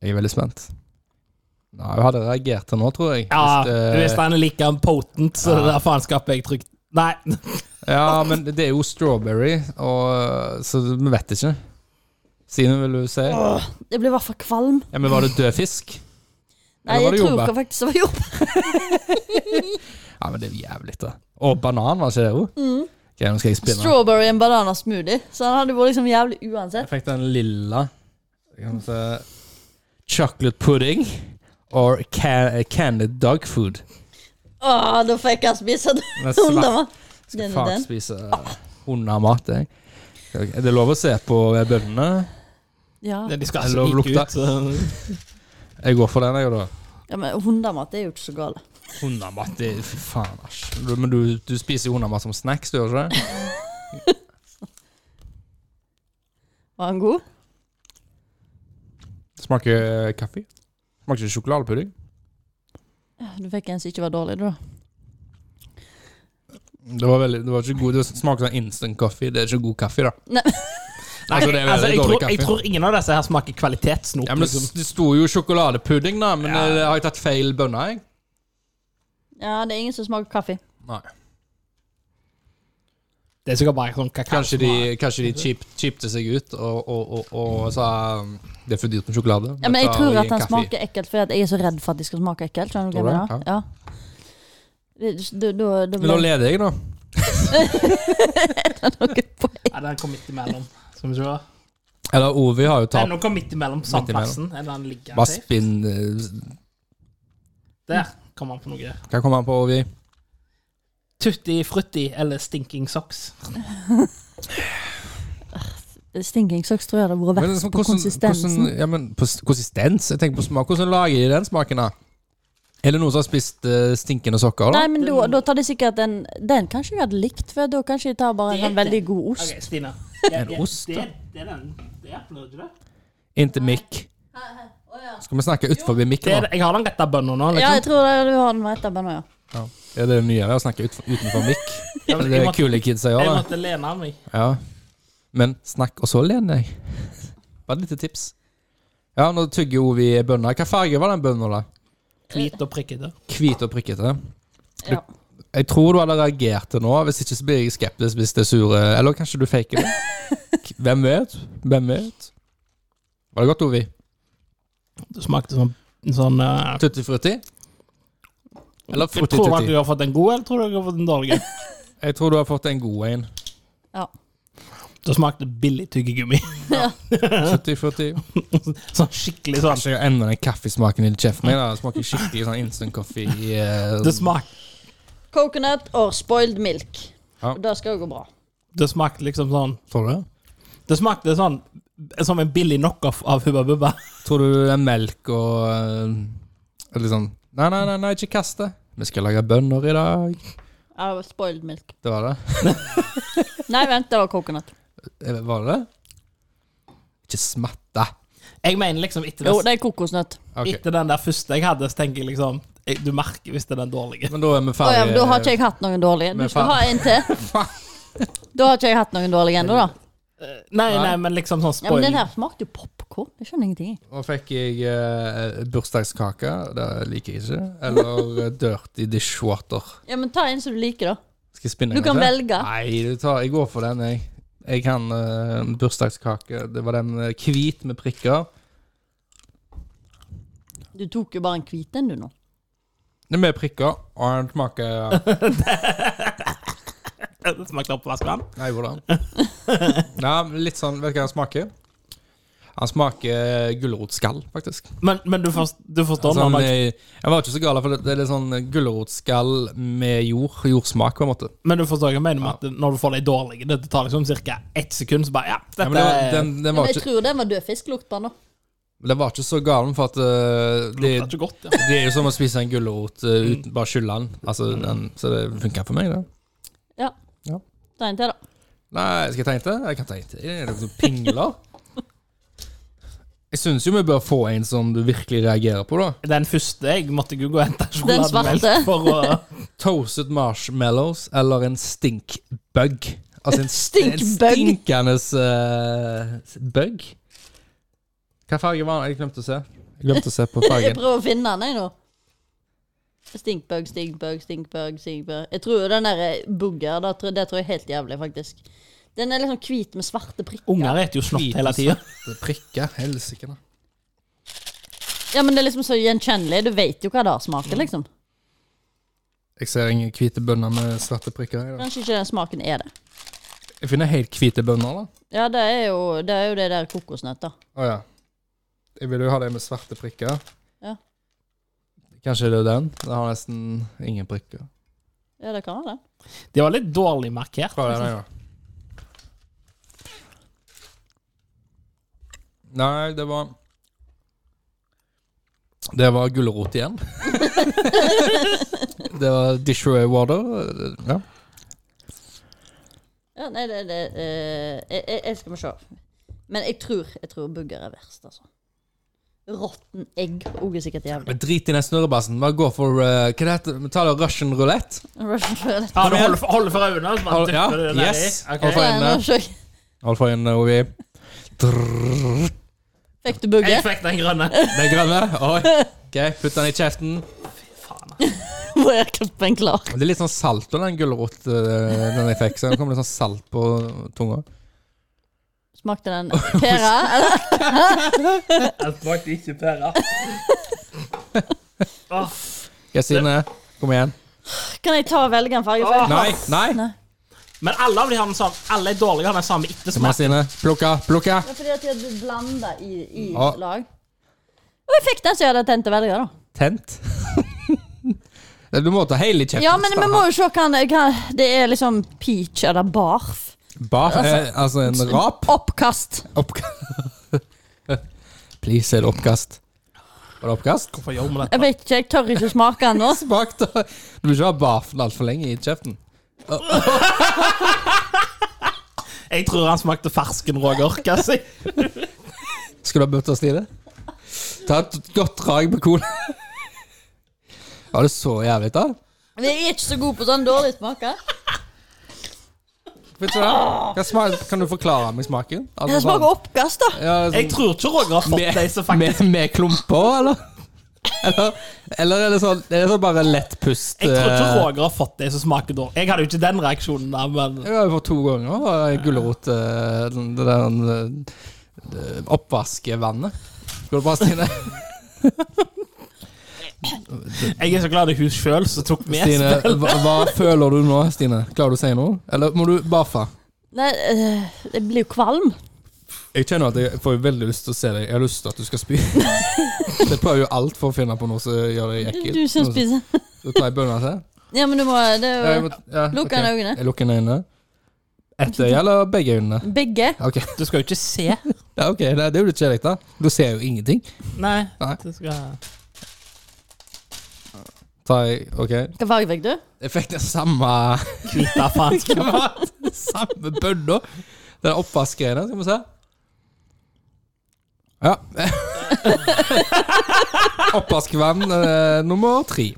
[SPEAKER 2] Jeg er veldig spent. Nei, hun hadde reagert til nå, tror jeg.
[SPEAKER 3] Ja,
[SPEAKER 2] Hvis eh, det-
[SPEAKER 3] hvis den er like potent, så det der faenskapet jeg trygt Nei. [laughs]
[SPEAKER 2] Ja, men det er jo strawberry, og, eh, så vi vet ikke. Stine, vil du si? Ja,
[SPEAKER 1] Jeg blir i hvert fall kvalm.
[SPEAKER 2] men var det død fisk?
[SPEAKER 1] Nei,
[SPEAKER 2] Eller
[SPEAKER 1] jeg
[SPEAKER 2] var det
[SPEAKER 1] tror
[SPEAKER 2] jordbær?
[SPEAKER 1] ikke faktisk det var jordbær.
[SPEAKER 2] Ja, men det er jo jævlig, da. Og banan, var ikke det òg?
[SPEAKER 3] Mm.
[SPEAKER 2] Ok, nå skal jeg spinne.
[SPEAKER 1] Strawberry and banana smoothie. Så han hadde vært liksom jævlig uansett.
[SPEAKER 2] Jeg fikk den lilla kan se, Chocolate pudding or ca eh, candied dog food.
[SPEAKER 1] Åh, da fikk han spise den.
[SPEAKER 2] Den er svart.
[SPEAKER 1] Hundemat.
[SPEAKER 2] Skal
[SPEAKER 1] Den er
[SPEAKER 2] faen
[SPEAKER 1] den.
[SPEAKER 2] spise hundemat, jeg. Ok, Er det lov å se på bøndene?
[SPEAKER 1] Ja.
[SPEAKER 3] De skal
[SPEAKER 2] Det er
[SPEAKER 3] altså
[SPEAKER 2] lov å
[SPEAKER 3] like
[SPEAKER 2] lukte. [laughs]
[SPEAKER 3] ut. så-
[SPEAKER 2] Jeg går for den, jeg, da.
[SPEAKER 1] ja, men hundemat er jo ikke så gale.
[SPEAKER 2] Hundemat, det Fy faen, æsj. Du- Men du, du spiser jo hundemat som snacks, du gjør ikke det?
[SPEAKER 1] Var han god?
[SPEAKER 2] Smaker eh, kaffe. Smaker ikke sjokoladepudding.
[SPEAKER 1] Du fikk en som ikke var dårlig, du, da.
[SPEAKER 2] Det var veldig, det var ikke god, det smaker sånn instant kaffe. Det er ikke god kaffe, da.
[SPEAKER 1] Nei.
[SPEAKER 3] Nei,
[SPEAKER 2] altså, det er veldig
[SPEAKER 3] altså, jeg,
[SPEAKER 2] dårlig
[SPEAKER 3] tror, jeg
[SPEAKER 2] kaffe.
[SPEAKER 3] tror ingen av disse her smaker kvalitetssnop.
[SPEAKER 2] ja, men det,
[SPEAKER 3] liksom.
[SPEAKER 2] det sto jo sjokoladepudding, da, men
[SPEAKER 3] Ja.
[SPEAKER 2] eh, har jeg tatt feil bønner, jeg?
[SPEAKER 1] Ja, det er ingen som smaker kaffe.
[SPEAKER 2] Nei.
[SPEAKER 3] Det er sikkert bare sånn kakao.
[SPEAKER 2] Kanskje de, kanskje de cheap, cheapte seg ut og, og, og, og sa um, det er for dyrt med sjokolade.
[SPEAKER 1] Ja, men jeg
[SPEAKER 2] Dette
[SPEAKER 1] tror
[SPEAKER 2] gir
[SPEAKER 1] at han
[SPEAKER 2] kaffe i».
[SPEAKER 1] smaker ekkelt, fordi at jeg er så redd for at de skal smake ekkelt. Skjønner du hva jeg
[SPEAKER 2] Tror du
[SPEAKER 1] mener? Ja. Det- Da, da, da ble
[SPEAKER 2] Men nå
[SPEAKER 1] det
[SPEAKER 2] leder jeg, da.
[SPEAKER 1] noe poeng.
[SPEAKER 3] Ja, den kom midt imellom. Skal vi se.
[SPEAKER 2] Eller Ovi har jo tapt.
[SPEAKER 3] Den kom midt imellom på
[SPEAKER 2] Midt
[SPEAKER 3] samme
[SPEAKER 2] imellom.
[SPEAKER 3] plassen. Er den ligger
[SPEAKER 2] Bare
[SPEAKER 3] safe?
[SPEAKER 2] spinn eh,
[SPEAKER 3] Der kom han på noe.
[SPEAKER 2] Hva kommer han på, Ovi?
[SPEAKER 3] Tutti frutti eller stinking socks.
[SPEAKER 1] Stinking socks tror jeg det hadde vært
[SPEAKER 2] Men
[SPEAKER 1] verst
[SPEAKER 2] liksom,
[SPEAKER 1] på
[SPEAKER 2] hvordan-
[SPEAKER 1] konsistensen.
[SPEAKER 2] hvordan- ja, men på s- konsistens? Jeg tenker på smak. Hvordan lager de den smaken, da? Er det noen som har spist eh, stinkende sokker, da?
[SPEAKER 1] Nei, men da, da tar de sikkert en Den kanskje jeg hadde likt, for da kanskje de tar bare en
[SPEAKER 3] Det-
[SPEAKER 1] sånn veldig god ost.
[SPEAKER 3] Ok, Stina.
[SPEAKER 2] [laughs] En ost, da?
[SPEAKER 3] Det, det er den. Det er den, ikke det?
[SPEAKER 2] Inntil mikk. Skal vi snakke utenfor
[SPEAKER 3] Det
[SPEAKER 2] mikken,
[SPEAKER 3] er,
[SPEAKER 2] da?
[SPEAKER 3] jeg har den rette bønna nå.
[SPEAKER 1] Ja,
[SPEAKER 3] Liksom.
[SPEAKER 1] jeg tror det, du har den rett der nå, ja.
[SPEAKER 2] Ja. Er det det nye ved å snakke utenfor, utenfor mikk?
[SPEAKER 3] Ja, men
[SPEAKER 2] Det
[SPEAKER 3] jeg
[SPEAKER 2] er
[SPEAKER 3] må-
[SPEAKER 2] kule kids jeg
[SPEAKER 3] Jeg
[SPEAKER 2] gjør,
[SPEAKER 3] måtte lene meg.
[SPEAKER 2] da. Ja. Men snakk, og så lener jeg. Bare et lite tips. Ja, nå tygger Ovi bønner. Hva farge var den bønna, da?
[SPEAKER 3] Hvit og prikkete.
[SPEAKER 2] Hvit og prikkete.
[SPEAKER 1] ja.
[SPEAKER 2] Jeg tror du hadde reagert til nå, hvis ikke så blir jeg skeptisk hvis det er sure Eller kanskje du faker det? K- Hvem vet? Hvem vet? Var det godt, Ovi?
[SPEAKER 3] Det smakte som en sånn eh,
[SPEAKER 2] Tutti frutti? Eller
[SPEAKER 3] Tror du at du
[SPEAKER 2] 40-20.
[SPEAKER 3] har fått en god, eller tror du at du har fått en dårlig? en?
[SPEAKER 2] Jeg tror du har fått en god en.
[SPEAKER 1] Ja.
[SPEAKER 3] Da smakte det billig tyggegummi. [laughs]
[SPEAKER 2] 70-40.
[SPEAKER 3] Sånn skikkelig sånn.
[SPEAKER 2] Kanskje jeg ender den kaffesmaken i kjeften min. da. Det smaker skikkelig sånn instant coffee. eh,
[SPEAKER 3] Det, smak,
[SPEAKER 1] Coconut or spoiled milk.
[SPEAKER 2] Ja.
[SPEAKER 1] Og Det skal jo gå bra.
[SPEAKER 3] det smakte liksom sånn
[SPEAKER 2] Tror du det?
[SPEAKER 3] Det smakte sånn som en billig knockoff av Hubba Bubba.
[SPEAKER 2] Tror du det er melk og eh, litt sånn Nei, nei, nei, nei ikke kast det. Vi skal lage bønner i dag.
[SPEAKER 1] Ja, spoiled milk.
[SPEAKER 2] Det var det.
[SPEAKER 1] Nei, vent, det var
[SPEAKER 2] [laughs]
[SPEAKER 1] coconut.
[SPEAKER 2] Eh, Var det det? Ikke smatte.
[SPEAKER 3] Jeg mener liksom etter,
[SPEAKER 1] Jo,
[SPEAKER 3] det,
[SPEAKER 1] det er kokosnøtt.
[SPEAKER 2] Ok.
[SPEAKER 3] etter den der første jeg hadde, så tenker jeg liksom jeg, Du merker hvis det er den dårlige.
[SPEAKER 2] Men da er
[SPEAKER 1] Å
[SPEAKER 2] vi
[SPEAKER 1] ja,
[SPEAKER 2] ferdige.
[SPEAKER 1] men da har ikke jeg hatt noen dårlige. Du
[SPEAKER 2] eh, Men
[SPEAKER 1] skal
[SPEAKER 2] faen.
[SPEAKER 1] ha en til.
[SPEAKER 2] [laughs]
[SPEAKER 1] Da har ikke jeg hatt noen dårlige ennå, da.
[SPEAKER 3] Nei,
[SPEAKER 2] Nei.
[SPEAKER 3] nei, men liksom sånn
[SPEAKER 1] Ja, men
[SPEAKER 3] spoil.
[SPEAKER 1] den her smakte jo popkorn. Jeg skjønner ingenting. jeg.
[SPEAKER 2] Nå fikk jeg eh, bursdagskake. Det liker jeg ikke. Eller eh, dirty dishwater.
[SPEAKER 1] Ja, men ta en som du liker, da.
[SPEAKER 2] Skal jeg spinne
[SPEAKER 1] Du
[SPEAKER 2] en
[SPEAKER 1] kan
[SPEAKER 2] gang til?
[SPEAKER 1] velge.
[SPEAKER 2] Nei, du tar, jeg går for den, jeg. Jeg kan eh, bursdagskake. Det var den eh, hvit med prikker.
[SPEAKER 1] Du tok jo bare en hvit en, du, nå.
[SPEAKER 2] Det er med prikker, og den smaker
[SPEAKER 3] Eh, Det smakte oppvaskvann.
[SPEAKER 2] Nei, hvordan? [laughs] Nei, litt sånn Vet du hva den smaker? Han smaker gulrotskall, faktisk.
[SPEAKER 3] Men, men du, forst, du forstår
[SPEAKER 2] Sånn,
[SPEAKER 3] når man,
[SPEAKER 2] eh, jeg var ikke så gal, for det- det er litt sånn gulrotskall med jord. Jordsmak, på en måte.
[SPEAKER 3] Men du forstår hva jeg mener med at når du får de dårlige, det tar liksom ca. ett sekund, så bare Ja, dette
[SPEAKER 2] Ja, men det, var-
[SPEAKER 3] er-
[SPEAKER 2] den, den,
[SPEAKER 1] Ja,
[SPEAKER 2] var
[SPEAKER 1] men jeg
[SPEAKER 2] ikke,
[SPEAKER 1] tror den var død fisklukt på den, da.
[SPEAKER 2] den var ikke så galen, for at eh, det,
[SPEAKER 3] lukter ikke Mm. godt. Ja.
[SPEAKER 2] Det er jo som å spise en gulrot eh, uten bare skylle den. Altså, den. Så det funker for meg, det.
[SPEAKER 1] Ja.
[SPEAKER 2] Ja.
[SPEAKER 1] Ta en til, da.
[SPEAKER 2] Nei, skal jeg ta en til? Jeg kan ta en til. Er det noen
[SPEAKER 3] [laughs]
[SPEAKER 2] pingler? Jeg syns jo vi bør få en som du virkelig reagerer på, da.
[SPEAKER 3] Den første jeg måtte gå og hente
[SPEAKER 1] Den svarte.
[SPEAKER 3] sjokolademelk for å
[SPEAKER 2] Toasted marshmallows eller en stinkbug. Altså [laughs] en, st- en
[SPEAKER 1] Stinkbug?
[SPEAKER 2] stinkende eh, bug. Hva farge var den? Jeg glemte å se. Jeg glemte å se på
[SPEAKER 1] Jeg
[SPEAKER 2] [laughs] fargen.
[SPEAKER 1] prøver å finne den, jeg, nå. Stinkbug, stinkbug, stinkbug, stinkbug. Jeg tror jo den der eh, bugger, da tror- det tror jeg er helt jævlig, faktisk. Den er liksom hvit med svarte prikker.
[SPEAKER 3] Unger spiser jo snott hele tida.
[SPEAKER 2] Prikker. Helsike, da.
[SPEAKER 1] Ja, men det er liksom så gjenkjennelig. Du vet jo hva det smaker, liksom.
[SPEAKER 2] Jeg ser ingen hvite bønner med svarte prikker. her, da.
[SPEAKER 1] Kanskje ikke den smaken er det.
[SPEAKER 2] Jeg finner helt hvite bønner, da.
[SPEAKER 1] Ja, det er jo det, er jo det der kokosnøtt, da.
[SPEAKER 2] Å ja. Jeg ville jo ha det med svarte prikker.
[SPEAKER 1] Ja.
[SPEAKER 2] Kanskje det er den? Det har nesten ingen prikker.
[SPEAKER 1] Ja, det kan være det.
[SPEAKER 3] De var litt dårlig markert.
[SPEAKER 2] Prøv den, en gang. Nei, det var Det var gulrot igjen. det var dishway water. Ja.
[SPEAKER 1] Ja, nei, det, det eh, jeg, jeg, jeg skal må se. Men jeg tror, jeg tror bugger er verst, altså. Råtten egg òg er sikkert jævlig.
[SPEAKER 2] Men drit i den snurrebassen. Bare gå for eh, Hva det heter det? Ta det Russian roulette.
[SPEAKER 1] Russian roulette.
[SPEAKER 3] Ja, du holder for, holder for øynene. så bare
[SPEAKER 2] Hold- ja,
[SPEAKER 3] dytter du det ned
[SPEAKER 2] yes.
[SPEAKER 3] i. Ok.
[SPEAKER 2] Hold for
[SPEAKER 1] Nei,
[SPEAKER 2] øynene.
[SPEAKER 1] nå så jeg-
[SPEAKER 2] Hold for øynene, eh, Ovi. Drrrr.
[SPEAKER 1] Fikk du bugge?
[SPEAKER 3] Jeg fikk den grønne.
[SPEAKER 2] Den grønne. Oi. Ok, Putt den i kjeften.
[SPEAKER 3] Faen, ass.
[SPEAKER 1] Hvor er kroppen klar?
[SPEAKER 2] Det er litt sånn salt over den gulrot eh, den jeg fikk. Så det kommer litt sånn salt på tunga.
[SPEAKER 1] Smakte
[SPEAKER 2] [laughs]
[SPEAKER 1] den pære? Eller?
[SPEAKER 3] Jeg smakte ikke pære. [laughs] Åh,
[SPEAKER 2] Kristine, kom igjen.
[SPEAKER 1] Kan jeg ta og velge en farge? For jeg
[SPEAKER 2] Nei, nei.
[SPEAKER 1] Nei.
[SPEAKER 3] Men alle av de har den samme Alle er dårlige har den samme
[SPEAKER 2] Kom
[SPEAKER 3] ettersmak.
[SPEAKER 2] igjen, Stine. Plukka, plukka.
[SPEAKER 1] Det er fordi at jeg blanda i, i
[SPEAKER 2] Ja.
[SPEAKER 1] lag. Og jeg fikk den som jeg hadde tenkt å velge, da.
[SPEAKER 2] Tent. Du må ta hele i kjeften.
[SPEAKER 1] Ja, men vi må jo se hva, han- hva Det er liksom peach eller barf.
[SPEAKER 2] Bar, eh, altså en rap.
[SPEAKER 1] Oppkast.
[SPEAKER 2] Oppk [laughs] Please, er det oppkast? Var det oppkast?
[SPEAKER 3] Hvorfor gjør vi
[SPEAKER 1] Jeg
[SPEAKER 3] dette?
[SPEAKER 1] vet ikke, jeg tør ikke smake den nå.
[SPEAKER 2] Smak, da. Du vil ikke ha barfen altfor lenge i kjeften.
[SPEAKER 3] Jeg tror han smakte fersken Roger. Hva sier
[SPEAKER 2] Skal du ha bøtter, Stine? Ta et godt drag med cola. Var det så jævlig, da?
[SPEAKER 1] Vi er ikke så gode på sånn dårlig smaker.
[SPEAKER 2] Vet du hva? Hva smak, kan du forklare meg smaken? Altså,
[SPEAKER 1] Det smaker oppkast, da.
[SPEAKER 2] Ja, sånn-
[SPEAKER 3] Jeg tror ikke Roger har fått de som faktisk
[SPEAKER 2] med, med klumper, eller? Eller, eller er det sånn Er det sånn bare lett pust?
[SPEAKER 3] Jeg tror ikke
[SPEAKER 2] eh,
[SPEAKER 3] Roger har fått de som smaker dårlig. Jeg hadde jo ikke den reaksjonen der, men
[SPEAKER 2] Jeg har jo fått to ganger eh, gulrot eh, den- Det der [laughs] eh, oppvaskevannet. Går det bra, Stine?
[SPEAKER 3] Jeg er så glad det er hun sjøl som tok med
[SPEAKER 2] Stine, hva, hva føler du nå, Stine? Klarer du å si noe? Eller må du baffe?
[SPEAKER 1] Nei, eh, jeg blir jo kvalm.
[SPEAKER 2] Jeg kjenner at jeg får veldig lyst til å se deg. Jeg har lyst til at du [laughs] skal spy. Jeg prøver jo alt for å finne på noe som gjør deg ekkelt.
[SPEAKER 1] Du som spiser.
[SPEAKER 2] Så tar jeg bønna til.
[SPEAKER 1] Ja, men du må, det
[SPEAKER 2] Ja,
[SPEAKER 1] er
[SPEAKER 2] jeg må-
[SPEAKER 1] jo
[SPEAKER 2] ja,
[SPEAKER 1] Lukk
[SPEAKER 2] ok.
[SPEAKER 1] øynene. øynene.
[SPEAKER 2] Jeg lukker øynene. Ett øye eller begge øynene?
[SPEAKER 1] Begge.
[SPEAKER 2] Ok,
[SPEAKER 3] Du skal jo ikke se.
[SPEAKER 2] ja, ok, Nei, Det er jo litt kjedelig, da. Da ser jeg jo ingenting.
[SPEAKER 3] Nei.
[SPEAKER 2] Nei.
[SPEAKER 3] Du skal...
[SPEAKER 2] Tar jeg, ok
[SPEAKER 1] Hva farge fikk du?
[SPEAKER 2] Jeg fikk den samme [laughs]
[SPEAKER 3] Hvita faen skal man
[SPEAKER 2] Samme bønna. Den oppvaskgreiene. Skal vi se. Ja. [laughs] Oppvaskvann eh, nummer tre.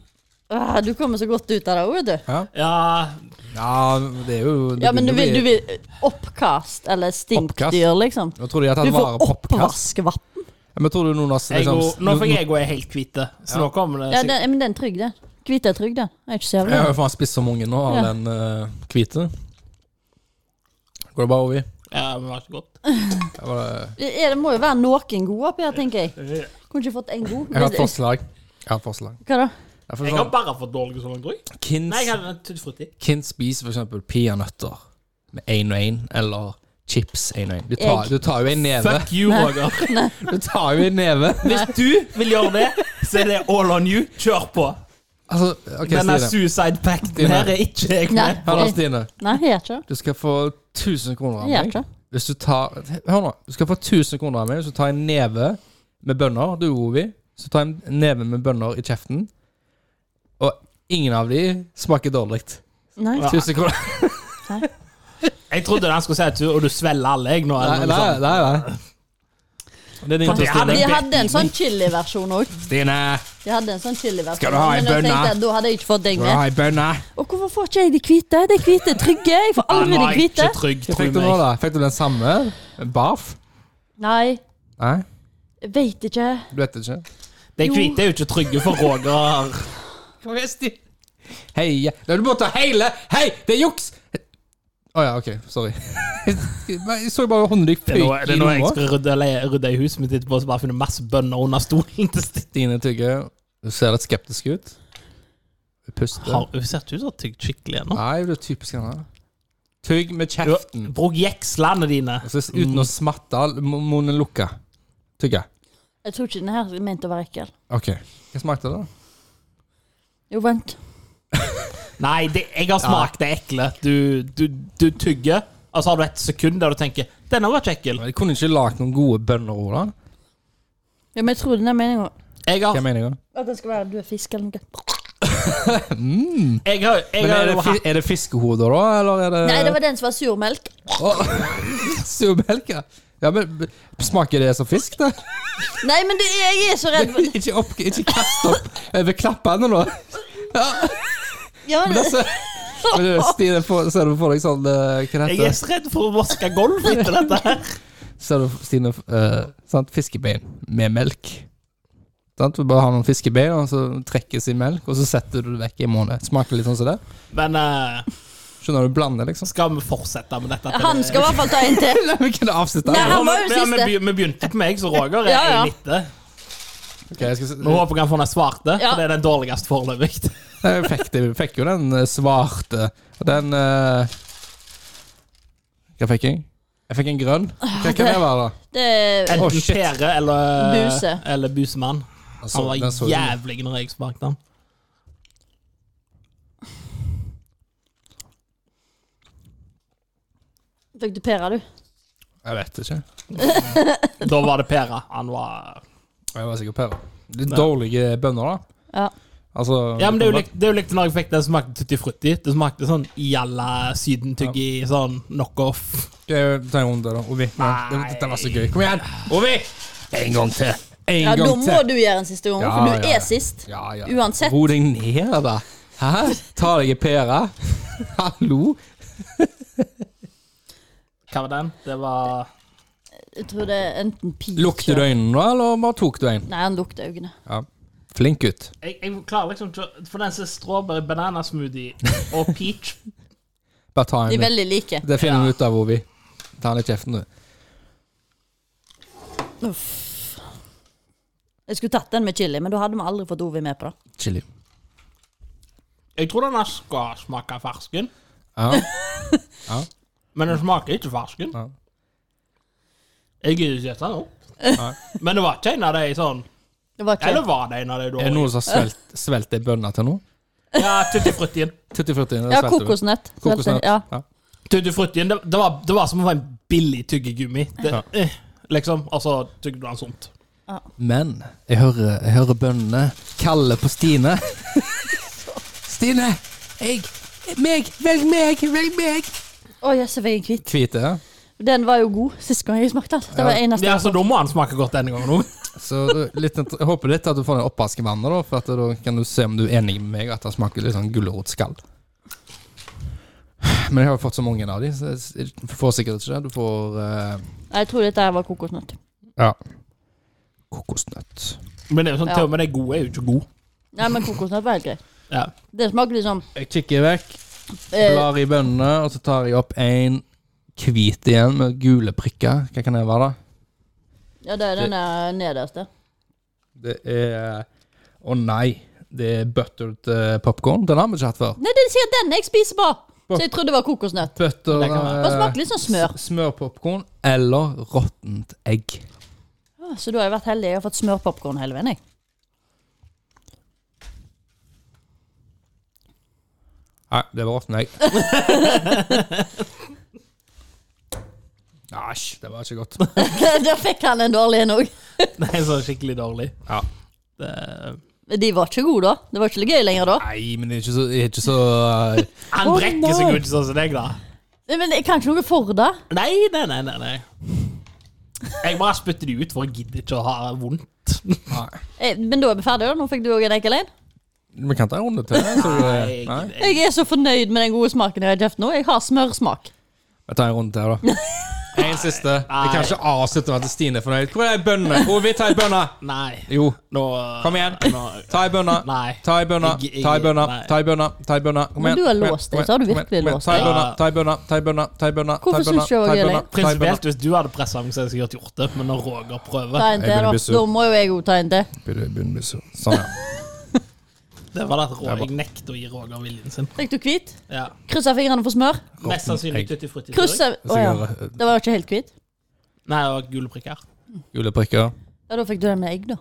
[SPEAKER 1] Ah, du kommer så godt ut av det òg, vet du.
[SPEAKER 3] Ja,
[SPEAKER 2] Ja, det er jo det
[SPEAKER 1] Ja, men du vil,
[SPEAKER 2] begynner
[SPEAKER 1] du
[SPEAKER 2] å bli-
[SPEAKER 1] vil Oppkast eller stinkdyr, liksom.
[SPEAKER 2] Nå tror de jeg har
[SPEAKER 1] Du
[SPEAKER 2] tatt vare
[SPEAKER 1] får
[SPEAKER 2] på oppkast.
[SPEAKER 1] oppvaskvann.
[SPEAKER 2] Ja, Men tror du noen har
[SPEAKER 3] ego,
[SPEAKER 2] liksom,
[SPEAKER 3] nå fikk
[SPEAKER 2] jeg
[SPEAKER 3] ego er helt hvite, så nå kommer det
[SPEAKER 1] Ja,
[SPEAKER 3] sikkert-
[SPEAKER 1] den, men den er trygg, den. Hvite er trygg, den. Jeg er ikke så jævlig.
[SPEAKER 2] har jo faen spist så mange nå av
[SPEAKER 1] Ja.
[SPEAKER 2] den eh, hvite. Går det bare over i?
[SPEAKER 3] Ja, men vær
[SPEAKER 1] [laughs]
[SPEAKER 3] så god.
[SPEAKER 2] Jeg, bare,
[SPEAKER 1] Det, er, det må jo være noen gode oppi her, tenker jeg. Kunne ikke fått en god.
[SPEAKER 2] jeg har et forslag. Jeg har et forslag.
[SPEAKER 1] Hva da?
[SPEAKER 2] Jeg får
[SPEAKER 3] Jeg har
[SPEAKER 2] sånn,
[SPEAKER 3] bare fått dårlige så langt òg.
[SPEAKER 2] Kins,
[SPEAKER 3] Nei, jeg hadde en tuttfrutti.
[SPEAKER 2] Kins spiser for eksempel peanøtter med én og én, eller chips én og én. Du, tar-
[SPEAKER 1] Egg.
[SPEAKER 2] du tar jo en neve.
[SPEAKER 3] Fuck you, Roger.
[SPEAKER 2] [laughs] Du tar jo en neve.
[SPEAKER 3] Hvis du vil gjøre det, så er det all on you. Kjør på.
[SPEAKER 2] Altså, ok,
[SPEAKER 3] Denne
[SPEAKER 2] Stine.
[SPEAKER 3] suicide pacten
[SPEAKER 2] Stine.
[SPEAKER 3] her er ikke jeg
[SPEAKER 1] Nei.
[SPEAKER 3] med.
[SPEAKER 2] Hør nå, Stine.
[SPEAKER 1] Nei, jeg gjør ikke det.
[SPEAKER 2] Du skal få 1000 kroner av
[SPEAKER 1] Jeg gjør
[SPEAKER 2] meg.
[SPEAKER 1] ikke det.
[SPEAKER 2] Hvis du tar Hør nå. Du skal få 1000 kroner av meg hvis du tar en neve med bønner. Du, Ovi. Så tar en neve med bønner i kjeften. Og ingen av de smaker dårlig.
[SPEAKER 1] Nei.
[SPEAKER 2] 1000 kroner.
[SPEAKER 3] Jeg trodde den skulle si at du, og du svelger alle, jeg nå.
[SPEAKER 2] Nei, nei,
[SPEAKER 3] Eller noe sånn. sånt.
[SPEAKER 2] nei. nei. Det er din tur,
[SPEAKER 3] Jeg hadde-
[SPEAKER 2] Stine.
[SPEAKER 1] De hadde en sånn chiliversjon òg.
[SPEAKER 2] Stine,
[SPEAKER 1] De hadde en sånn chiliversjon.
[SPEAKER 2] Skal du ha en
[SPEAKER 1] men jeg
[SPEAKER 2] bønne?
[SPEAKER 1] tenkte at Da hadde jeg ikke fått deg
[SPEAKER 2] skal du
[SPEAKER 1] med.
[SPEAKER 2] ha ei bønne?
[SPEAKER 1] Og hvorfor får ikke jeg de hvite? De hvite er trygge. Jeg får
[SPEAKER 2] Ah,
[SPEAKER 3] Han
[SPEAKER 1] aldri de
[SPEAKER 3] var ikke
[SPEAKER 1] hvite.
[SPEAKER 3] trygg,
[SPEAKER 2] Hva
[SPEAKER 3] tror
[SPEAKER 2] fikk du nå,
[SPEAKER 3] jeg.
[SPEAKER 2] da? Fikk du den samme? Barf?
[SPEAKER 1] Nei,
[SPEAKER 2] Nei,
[SPEAKER 1] veit ikke.
[SPEAKER 2] du vet ikke.
[SPEAKER 3] De
[SPEAKER 1] Jo.
[SPEAKER 3] hvite er jo ikke trygge for Roger.
[SPEAKER 2] Heia Nei, Du må ta hele Hei, det er juks! Å ja, OK. Sorry. [laughs] Jeg så bare hånda di
[SPEAKER 3] Det er nå,
[SPEAKER 2] føyk
[SPEAKER 3] det
[SPEAKER 2] i
[SPEAKER 3] er nå jeg
[SPEAKER 2] lomma.
[SPEAKER 3] skal rydde, le- rydde i huset mitt etterpå, så bare finne masse bønner under stolen til Stine.
[SPEAKER 2] Stine tygger. Du ser litt skeptisk ut. Du puster.
[SPEAKER 3] Har hun ser ikke ut som hun har tygd skikkelig ennå.
[SPEAKER 2] Nei, du er typisk henne. Tygg med
[SPEAKER 3] Du har-
[SPEAKER 2] kjeften.
[SPEAKER 3] Bruk jekslene dine.
[SPEAKER 2] Altså, uten å
[SPEAKER 3] Mm.
[SPEAKER 2] smatte. må- Munnen lukka. Tygge.
[SPEAKER 1] Jeg tror ikke den her er ment å være ekkel.
[SPEAKER 2] OK. Hva smakte det? da?
[SPEAKER 1] Jo, vent.
[SPEAKER 3] Nei, det, jeg har smakt det ekle. Du, du, du tygger, og så har du et sekund der du tenker 'Denne var ikke ekkel'.
[SPEAKER 2] Jeg kunne ikke lagd noen gode bønnerord, da.
[SPEAKER 1] Ja, men jeg tror den er meninga
[SPEAKER 3] Jeg har,
[SPEAKER 2] Hva mener jeg?
[SPEAKER 1] at den skal være du er fisk eller noe.
[SPEAKER 3] jeg har, jeg
[SPEAKER 2] Men
[SPEAKER 3] har
[SPEAKER 2] er det,
[SPEAKER 3] jo
[SPEAKER 2] fi-
[SPEAKER 3] hatt
[SPEAKER 2] er det fiskehoder, da? Eller er det
[SPEAKER 1] Nei, det var den som var surmelk.
[SPEAKER 2] surmelk, ja. Ja, men b- smaker det som fisk, det?
[SPEAKER 1] Nei, men det, jeg er så redd for
[SPEAKER 2] ikke, opp, ikke kast opp over klappene nå.
[SPEAKER 1] ja,
[SPEAKER 2] Men altså, men du, Stine, får- ser du for deg sånn eh, Hva det
[SPEAKER 3] Jeg er
[SPEAKER 2] heter
[SPEAKER 3] så redd for å vaske gulv etter dette her.
[SPEAKER 2] Ser du, Stine, eh, sant? fiskebein med melk. Sant? Du bare har noen fiskebein, og så trekkes i melk, og så setter du det vekk i en måned. Smaker litt sånn som det.
[SPEAKER 3] Men eh,
[SPEAKER 2] Skjønner du? Blander, liksom. [laughs]
[SPEAKER 3] skal vi fortsette med dette? til-
[SPEAKER 1] Han skal i hvert fall ta en til.
[SPEAKER 2] Nei, Vi kunne avslutte
[SPEAKER 1] Nei,
[SPEAKER 2] her.
[SPEAKER 1] han var jo
[SPEAKER 3] Ja, men-
[SPEAKER 1] siste.
[SPEAKER 3] Vi, vi begynte på meg, så Roger er
[SPEAKER 1] Ja, ja.
[SPEAKER 3] i midten.
[SPEAKER 2] Ok, jeg skal,
[SPEAKER 3] Vi håper han får den svarte,
[SPEAKER 1] Ja.
[SPEAKER 3] for det er den dårligste foreløpig.
[SPEAKER 2] Nei, jeg fikk, det, jeg fikk jo den eh, svarte. Og den eh, Hva fikk jeg? Jeg fikk en grønn. Hva kan det være, da?
[SPEAKER 1] Det er
[SPEAKER 2] Å,
[SPEAKER 3] Enten
[SPEAKER 2] shit.
[SPEAKER 3] pære eller,
[SPEAKER 1] Buse.
[SPEAKER 3] eller busemann.
[SPEAKER 2] Altså,
[SPEAKER 3] Han var
[SPEAKER 2] den så-
[SPEAKER 3] jævlig når jeg smakte den.
[SPEAKER 1] Fikk du pæra, du?
[SPEAKER 2] Jeg vet ikke.
[SPEAKER 3] Da var det pære. Han var
[SPEAKER 2] Jeg var sikkert pære. Litt dårlige bønner, da.
[SPEAKER 1] Ja.
[SPEAKER 2] Altså,
[SPEAKER 3] Ja, men det er jo
[SPEAKER 2] kommer-
[SPEAKER 3] likt, det er jo likt når jeg fikk den som smakte tutti frutti. Det smakte sånn jalla sydentyggi, sånn knockoff.
[SPEAKER 2] Ok, Ta en runde, da. Ovi.
[SPEAKER 3] Nei.
[SPEAKER 2] Det- Dette var så gøy. Kom igjen, Ovi! En gang til. En
[SPEAKER 1] Ja, da
[SPEAKER 2] gang
[SPEAKER 1] må
[SPEAKER 2] til.
[SPEAKER 1] du gjøre en siste gang,
[SPEAKER 2] Ja,
[SPEAKER 1] for
[SPEAKER 2] ja,
[SPEAKER 1] du
[SPEAKER 2] ja.
[SPEAKER 1] er sist.
[SPEAKER 2] Ja, ja.
[SPEAKER 1] Uansett.
[SPEAKER 2] Ro deg ned, da. Hæ? Ta deg en pære. [laughs] Hallo?
[SPEAKER 3] Hva var den? Det var
[SPEAKER 1] Jeg tror det er enten pik
[SPEAKER 2] Lukter du øynene nå, eller bare tok du en?
[SPEAKER 1] Nei, han lukter øynene.
[SPEAKER 2] Ja. Flink gutt.
[SPEAKER 3] Jeg, jeg klarer liksom ikke å- For den som er strawberry banana smoothie og peach
[SPEAKER 2] Bare ta en.
[SPEAKER 1] De er
[SPEAKER 2] litt.
[SPEAKER 1] veldig like.
[SPEAKER 2] Det finner vi
[SPEAKER 3] Ja.
[SPEAKER 2] ut av, Ovi. Ta den i kjeften, du.
[SPEAKER 1] Jeg skulle tatt den med chili, men da hadde vi aldri fått Ovi med på det.
[SPEAKER 2] Chili.
[SPEAKER 3] [laughs] Jeg tror denne skal smake fersken,
[SPEAKER 2] Ja.
[SPEAKER 3] men den smaker ikke fersken.
[SPEAKER 2] Ja.
[SPEAKER 3] Jeg gidder ikke spise den opp.
[SPEAKER 2] Nei.
[SPEAKER 3] Men det var ikke en av de sånn
[SPEAKER 1] Det var ikke
[SPEAKER 3] Eller var det en av de
[SPEAKER 2] Er det
[SPEAKER 3] dårlige?
[SPEAKER 2] noen som har svelt, svelt ei bønne til nå?
[SPEAKER 3] Ja, tuttifruttien.
[SPEAKER 2] Tutti frutti. det
[SPEAKER 1] Ja,
[SPEAKER 2] svelter du.
[SPEAKER 1] kokosnøtt.
[SPEAKER 2] Kokosnøtt.
[SPEAKER 1] Ja.
[SPEAKER 2] Ja.
[SPEAKER 3] Tuttifruttien, det, det, var- det var som å få en billig tyggegummi. Det,
[SPEAKER 2] Ja.
[SPEAKER 3] eh, liksom. Altså, tygde du den sunt?
[SPEAKER 2] Men jeg hører, jeg hører bøndene kalle på Stine.
[SPEAKER 1] [laughs]
[SPEAKER 2] Stine! Jeg! Meg! Velg meg! Velg meg!
[SPEAKER 1] Å, jøss, jeg fikk en hvit.
[SPEAKER 2] Hvite.
[SPEAKER 1] Den var jo god sist gang jeg smakte den. Det var eneste
[SPEAKER 3] Ja, så da må han smake godt denne gangen òg.
[SPEAKER 2] Så du- litt, int- jeg håper litt at du får den oppvaskevannet, da, for at da kan du se om du er enig med meg at det smaker litt sånn gulrotskall. Men jeg har jo fått så mange av de, så jeg s- får sikkert ikke det. Du får eh,
[SPEAKER 1] Nei, Jeg tror dette her var kokosnøtt.
[SPEAKER 2] ja. kokosnøtt.
[SPEAKER 3] Men det er jo sånn,
[SPEAKER 1] Ja.
[SPEAKER 3] til og med de gode er jo ikke gode.
[SPEAKER 1] Nei, men kokosnøtt var helt greit.
[SPEAKER 3] Ja. [laughs]
[SPEAKER 1] Det smaker liksom
[SPEAKER 2] Jeg kikker vekk,
[SPEAKER 1] eh,
[SPEAKER 2] blar i bønnene, og så tar jeg opp en hvit igjen med gule prikker. Hva kan det være, da?
[SPEAKER 1] Ja, det er den der nederste.
[SPEAKER 2] Det er Å nei. Det er buttered eh, popcorn. Den har vi ikke hatt før.
[SPEAKER 1] Nei, det er sikkert den jeg spiser på! Så jeg trodde det var kokosnøtt.
[SPEAKER 2] Butter,
[SPEAKER 3] Det kan
[SPEAKER 2] eh,
[SPEAKER 3] være.
[SPEAKER 1] Det smaker litt som smør.
[SPEAKER 2] s- Smørpopcorn eller råttent egg.
[SPEAKER 1] Å, Ah, Så da har jeg vært heldig. Jeg har fått smørpopkorn hele veien, jeg. [laughs]
[SPEAKER 2] Nei, det var råttent egg. [laughs] Æsj, det var ikke godt.
[SPEAKER 1] da fikk han en dårlig en òg.
[SPEAKER 3] Nei, så skikkelig dårlig.
[SPEAKER 2] Ja.
[SPEAKER 3] Det,
[SPEAKER 1] De var ikke gode, da. Det var ikke gøy lenger da.
[SPEAKER 2] Nei, men det er ikke så, det er ikke så eh,
[SPEAKER 3] han
[SPEAKER 1] Å,
[SPEAKER 3] brekker seg
[SPEAKER 1] nei.
[SPEAKER 3] jo ikke sånn som deg, da.
[SPEAKER 1] Nei, Men jeg kan ikke noe for det.
[SPEAKER 3] Nei, nei, nei, nei. nei. Jeg bare spytter de ut, for jeg gidder ikke å ha vondt. [laughs]
[SPEAKER 2] Nei.
[SPEAKER 1] Eh, Men da er vi ferdige, da. Nå fikk du òg en enkel en.
[SPEAKER 2] Vi kan ta en runde til. Så,
[SPEAKER 3] Nei,
[SPEAKER 2] eh, nei.
[SPEAKER 3] jeg- jeg-
[SPEAKER 1] Jeg er så fornøyd med den gode smaken jeg har kjøpt nå. Jeg har smørsmak.
[SPEAKER 2] Vi tar en runde til, da. [laughs] En siste. Jeg kan
[SPEAKER 3] Nei.
[SPEAKER 2] ikke avslutte med at Stine er fornøyd. Hvor er ei bønne? Hvor vil vi ta ei bønne?
[SPEAKER 3] Nei.
[SPEAKER 2] Jo,
[SPEAKER 3] Nå
[SPEAKER 2] Kom igjen.
[SPEAKER 3] Nå,
[SPEAKER 2] ta ei bønne.
[SPEAKER 3] nei.
[SPEAKER 2] Ta i bønna,
[SPEAKER 3] Jeg- jeg-
[SPEAKER 2] ta i bønna,
[SPEAKER 3] nei.
[SPEAKER 2] ta i bønna, ta i bønna. Kom
[SPEAKER 1] Men du
[SPEAKER 2] igjen.
[SPEAKER 1] har
[SPEAKER 2] kom igjen,
[SPEAKER 1] låst deg,
[SPEAKER 2] kom igjen,
[SPEAKER 1] så har du
[SPEAKER 2] kom igjen,
[SPEAKER 1] virkelig
[SPEAKER 2] kom igjen.
[SPEAKER 1] låst
[SPEAKER 2] Ta i
[SPEAKER 3] deg.
[SPEAKER 2] bønna, ta i bønna, ta i bønna, ta i bønna. ta i
[SPEAKER 1] Hvorfor
[SPEAKER 2] bønna,
[SPEAKER 1] synes du det var
[SPEAKER 2] ta i
[SPEAKER 1] gøy, Leif?
[SPEAKER 2] bønna, ta i bønna.
[SPEAKER 3] Prinsipielt, hvis du hadde pressa meg, så hadde jeg sikkert gjort det, men når Roger prøver
[SPEAKER 1] Ta en
[SPEAKER 2] Ah, Jeg
[SPEAKER 1] til, da.
[SPEAKER 2] begynner å bli sur.
[SPEAKER 1] Da må jo jeg òg ta en til.
[SPEAKER 2] Sånn, ja.
[SPEAKER 3] Det var det at Roger,
[SPEAKER 2] Det er bra.
[SPEAKER 3] Jeg nekter å gi Roger viljen sin.
[SPEAKER 1] Fikk du hvit?
[SPEAKER 3] Ja.
[SPEAKER 1] Kryssa fingrene for smør?
[SPEAKER 3] Mest sannsynlig
[SPEAKER 2] egg.
[SPEAKER 3] tutti frutti. tror jeg.
[SPEAKER 1] Kryssa Å ja. Det var jo ikke helt hvit.
[SPEAKER 3] Nei, det var gule prikker.
[SPEAKER 2] Gule prikker.
[SPEAKER 1] Ja, da fikk du den med egg, da.